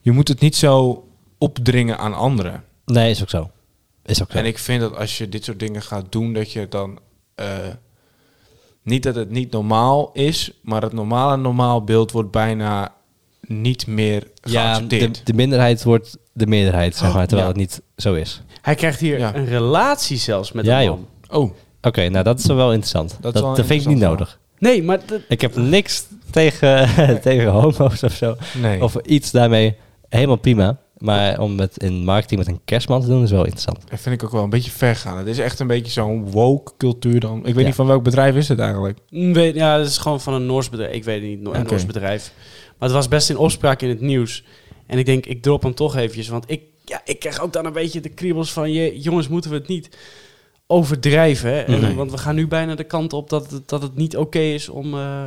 je moet het niet zo opdringen aan anderen. Nee, is ook zo. Is ook zo. En ik vind dat als je dit soort dingen gaat doen, dat je dan eh, niet dat het niet normaal is, maar het normale normaal beeld wordt bijna niet meer ja, de, geaccepteerd. Oh, de minderheid wordt de meerderheid, zeg maar. Terwijl ja. het niet zo is. Hij krijgt hier Ja. een relatie zelfs met Ja, een joh. man. oh, Oké, nou dat is wel interessant. Dat, wel dat, vind ik interessant, niet ja. nodig. Nee, maar dat- Ik heb niks tegen, tegen homo's of zo. nee. Of iets daarmee. Helemaal prima. Maar om het in marketing met een kerstman te doen is wel interessant. dat vind ik ook wel een beetje ver gaan. Het is echt een beetje zo'n woke cultuur dan. Ik weet Ja. niet van welk bedrijf is het eigenlijk. Mm, Weet, ja, dat is gewoon van een Noors bedrijf. Ik weet het niet, no- een Oké. Noors bedrijf. Maar het was best in opspraak in het nieuws. En ik denk, ik drop hem toch eventjes. Want ik, ja, ik krijg ook dan een beetje de kriebels van... Je, jongens, moeten we het niet overdrijven. hè? En- Nee. Want we gaan nu bijna de kant op dat, het- dat het niet oké is om, eh,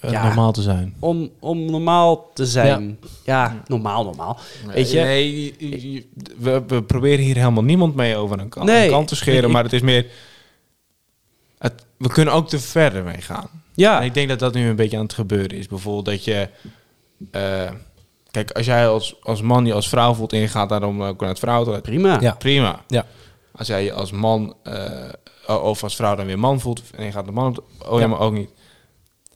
eh, Ja. Normaal te zijn. om, om normaal te zijn. Ja, normaal, normaal. Weet je? Nee, je- je- je- we, we proberen hier helemaal niemand mee over een kant, Nee, een kant te ik- scheren. ik- Maar het is meer... Het, we kunnen ook te verder mee gaan. En Ja, ik denk dat dat nu een beetje aan het gebeuren is. Bijvoorbeeld dat je... eh, kijk, als jij als, als man je als vrouw voelt en je gaat daarom ook naar het vrouwentoilet. prima. Ja. Prima. Ja. Als jij je als man eh, o- of als vrouw dan weer man voelt en je gaat de man op de- oh ja, Ja. maar ook niet.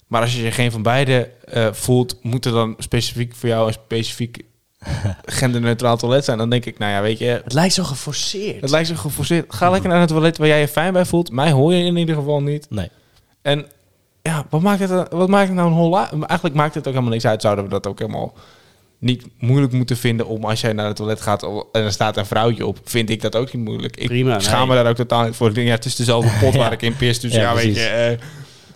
Maar als je je geen van beide eh, voelt, moet er dan specifiek voor jou een specifiek genderneutraal toilet zijn. Dan denk ik, nou ja, weet je, Het lijkt zo geforceerd. het lijkt zo geforceerd. Ga lekker naar het toilet waar jij je fijn bij voelt. Mij hoor je in ieder geval niet. Nee. En ja, wat maakt het, dan- wat maakt het nou een holla? Eigenlijk maakt het ook helemaal niks uit. Zouden we dat ook helemaal niet moeilijk moeten vinden om als jij naar het toilet gaat en er staat een vrouwtje op, vind ik dat ook niet moeilijk. Ik Prima, schaam me nee. daar ook totaal niet voor. Ik denk, Ja, het is dezelfde pot waar ik in pis, dus ja, Ja, weet precies. je. eh,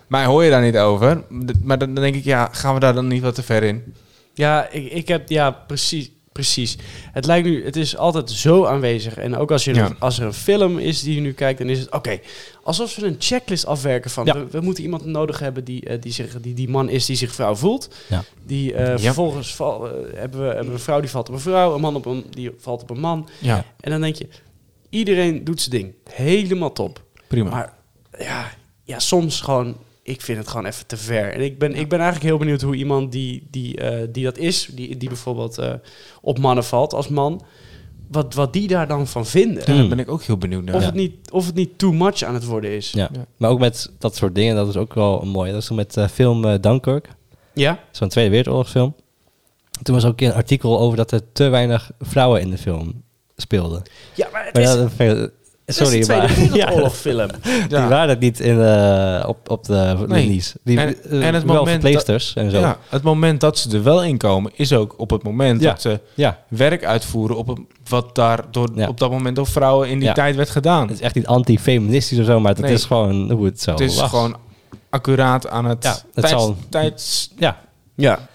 mij hoor je daar niet over. D- Maar dan dan denk ik, ja, gaan we daar dan niet wat te ver in? Ja, ik, ik heb, ja, precies. Precies. Het lijkt nu, het is altijd zo aanwezig. En ook als, je Ja. als er een film is die je nu kijkt, dan is het oké. alsof ze een checklist afwerken van Ja. we, we moeten iemand nodig hebben die, eh, die, zich, die die man is die zich vrouw voelt. Ja. Die eh, vervolgens val, eh, hebben, we, hebben we een vrouw die valt op een vrouw, een man op een, die valt op een man. Ja, En dan denk je, iedereen doet zijn ding. Helemaal top. prima. Maar ja, ja, soms gewoon, ik vind het gewoon even te ver. En ik ben, ik ben eigenlijk heel benieuwd hoe iemand die, die, eh, die dat is, die, die bijvoorbeeld eh, op mannen valt als man, wat, wat die daar dan van vinden. Ja. Daar ben ik ook heel benieuwd naar. Of, Ja. het niet, of het niet too much aan het worden is. Ja. Ja. Maar ook met dat soort dingen, dat is ook wel mooi. Dat is toen met eh, film eh, Dunkirk, Ja? zo'n Tweede Wereldoorlogsfilm. Toen was ook een keer een artikel over dat er te weinig vrouwen in de film speelden. Ja, maar het Maar is, dat- het is sorry, de Tweede maar ja, Wereldoorlogfilm. die waren het niet in, eh, op, op de Nee. linies. Die, En- eh, en het wel moment verpleegsters en zo. Ja, het moment dat ze er wel in komen, is ook op het moment Ja. dat ze ja, werk uitvoeren op een- wat daar door, Ja. op dat moment door vrouwen in die Ja. tijd werd gedaan. Het is echt niet anti-feministisch of zo, maar het Nee. is gewoon hoe het zo het is was. gewoon accuraat aan het, Ja, het tijds- zal- tijdsbestek. Ja, Ja.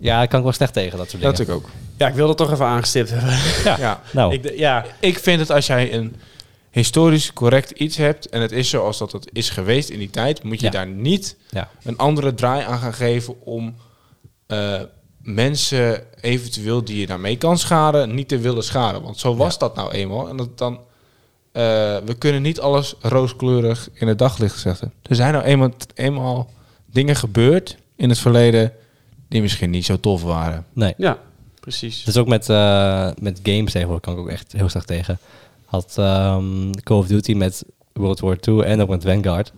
ja, daar kan ik wel slecht tegen, dat soort dingen. Dat ik ook. ja, ik wil dat toch even aangestipt hebben. Ja. Nou, Ik d- ja. Ik vind het als jij een historisch correct iets hebt en het is zoals dat het is geweest in die tijd, moet je Ja. daar niet ja. een andere draai aan gaan geven om eh, mensen eventueel die je daarmee kan schaden, niet te willen schaden. Want zo was dat nou eenmaal. En dat dan, eh, we kunnen niet alles rooskleurig in het daglicht zetten. Er zijn nou eenmaal, eenmaal dingen gebeurd in het verleden die misschien niet zo tof waren. nee. ja, precies. Dus ook met, eh, met games tegenwoordig kan ik ook echt heel slecht tegen. Had ehm, Call of Duty met World War II en ook met Vanguard.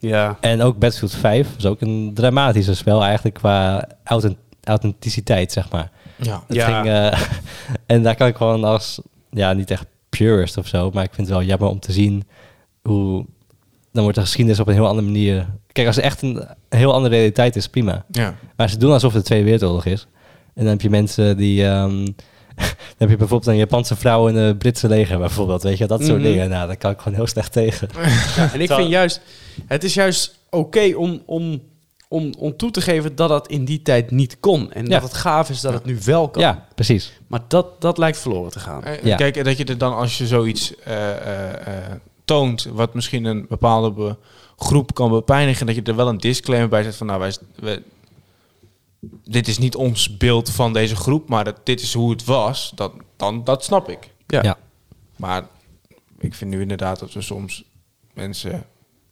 Ja. En ook Battlefield 5 was ook een dramatischer spel eigenlijk qua authent- authenticiteit, zeg maar. Ja. Het Ja. ging, eh, en daar kan ik gewoon als, ja, niet echt purist of zo, maar ik vind het wel jammer om te zien hoe, dan wordt de geschiedenis op een heel andere manier. Kijk, als er echt een, een heel andere realiteit is, prima. Ja. Maar ze doen alsof het de Tweede Wereldoorlog is. En dan heb je mensen die, ehm, dan heb je bijvoorbeeld een Japanse vrouw in het Britse leger bijvoorbeeld, weet je, dat soort Mhm. dingen. Nou, daar kan ik gewoon heel slecht tegen. Ja, en ik Terwijl- vind juist, het is juist oké om, om, om, om toe te geven dat dat in die tijd niet kon. En Ja. dat het gaaf is dat het nu wel kan. Ja, precies. Maar dat, dat lijkt verloren te gaan. Eh, Ja. Kijk, en dat je er dan als je zoiets eh, eh, eh, toont, wat misschien een bepaalde be- groep kan bepijnigen, dat je er wel een disclaimer bij zet van, nou, wij, wij- dit is niet ons beeld van deze groep, maar dat, dit is hoe het was, dat, dan, dat snap ik. Ja. Ja. Maar ik vind nu inderdaad dat we soms mensen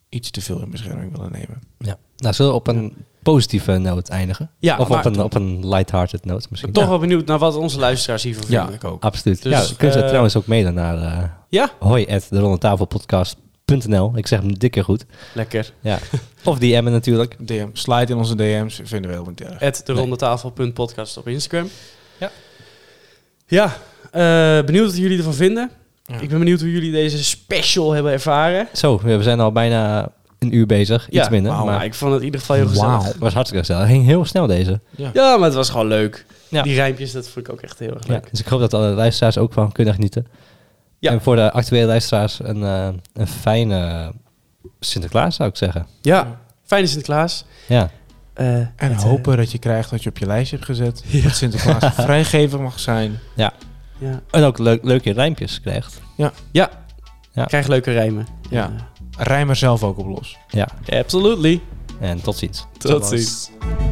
iets te veel in bescherming willen nemen. Ja. Nou, zullen we op een positieve noot eindigen? Ja, of op maar- een, op een lighthearted noot Ik ben misschien? toch Ja, wel benieuwd naar wat onze luisteraars hiervan vinden. ik ook. absoluut. Dus, ja, kunnen ze eh, trouwens ook mailen naar eh Ja? hoi at de Ik zeg hem dikke goed. Lekker. Ja. of DM'en natuurlijk. DM, slide in onze DM's, vinden we heel erg. At de rondetafel.podcast op Instagram. Ja. Ja, eh, benieuwd wat jullie ervan vinden. Ja. Ik ben benieuwd hoe jullie deze special hebben ervaren. Zo, we zijn al bijna een uur bezig. Iets ja, minder. wauw, maar ik vond het in ieder geval heel gezellig. Het was hartstikke gezellig. Het ging heel snel deze. Ja, maar het was gewoon leuk. Ja. Die rijmpjes, dat vond ik ook echt heel erg Ja, leuk. dus ik hoop dat alle luisteraars ook van kunnen genieten. Ja. En voor de actuele luisteraars een, eh, een fijne Sinterklaas zou ik zeggen. Ja, fijne Sinterklaas. Ja, Eh, En het, eh, hopen dat je krijgt wat je op je lijst hebt gezet. Dat Sinterklaas vrijgevig mag zijn. ja. en ook leuk, leuke rijmpjes krijgt. eh, ja. Ja. krijg leuke rijmen. Ja. Rij maar zelf ook op los. Ja, Eh, absolutely. en tot ziens. Tot ziens. ziens.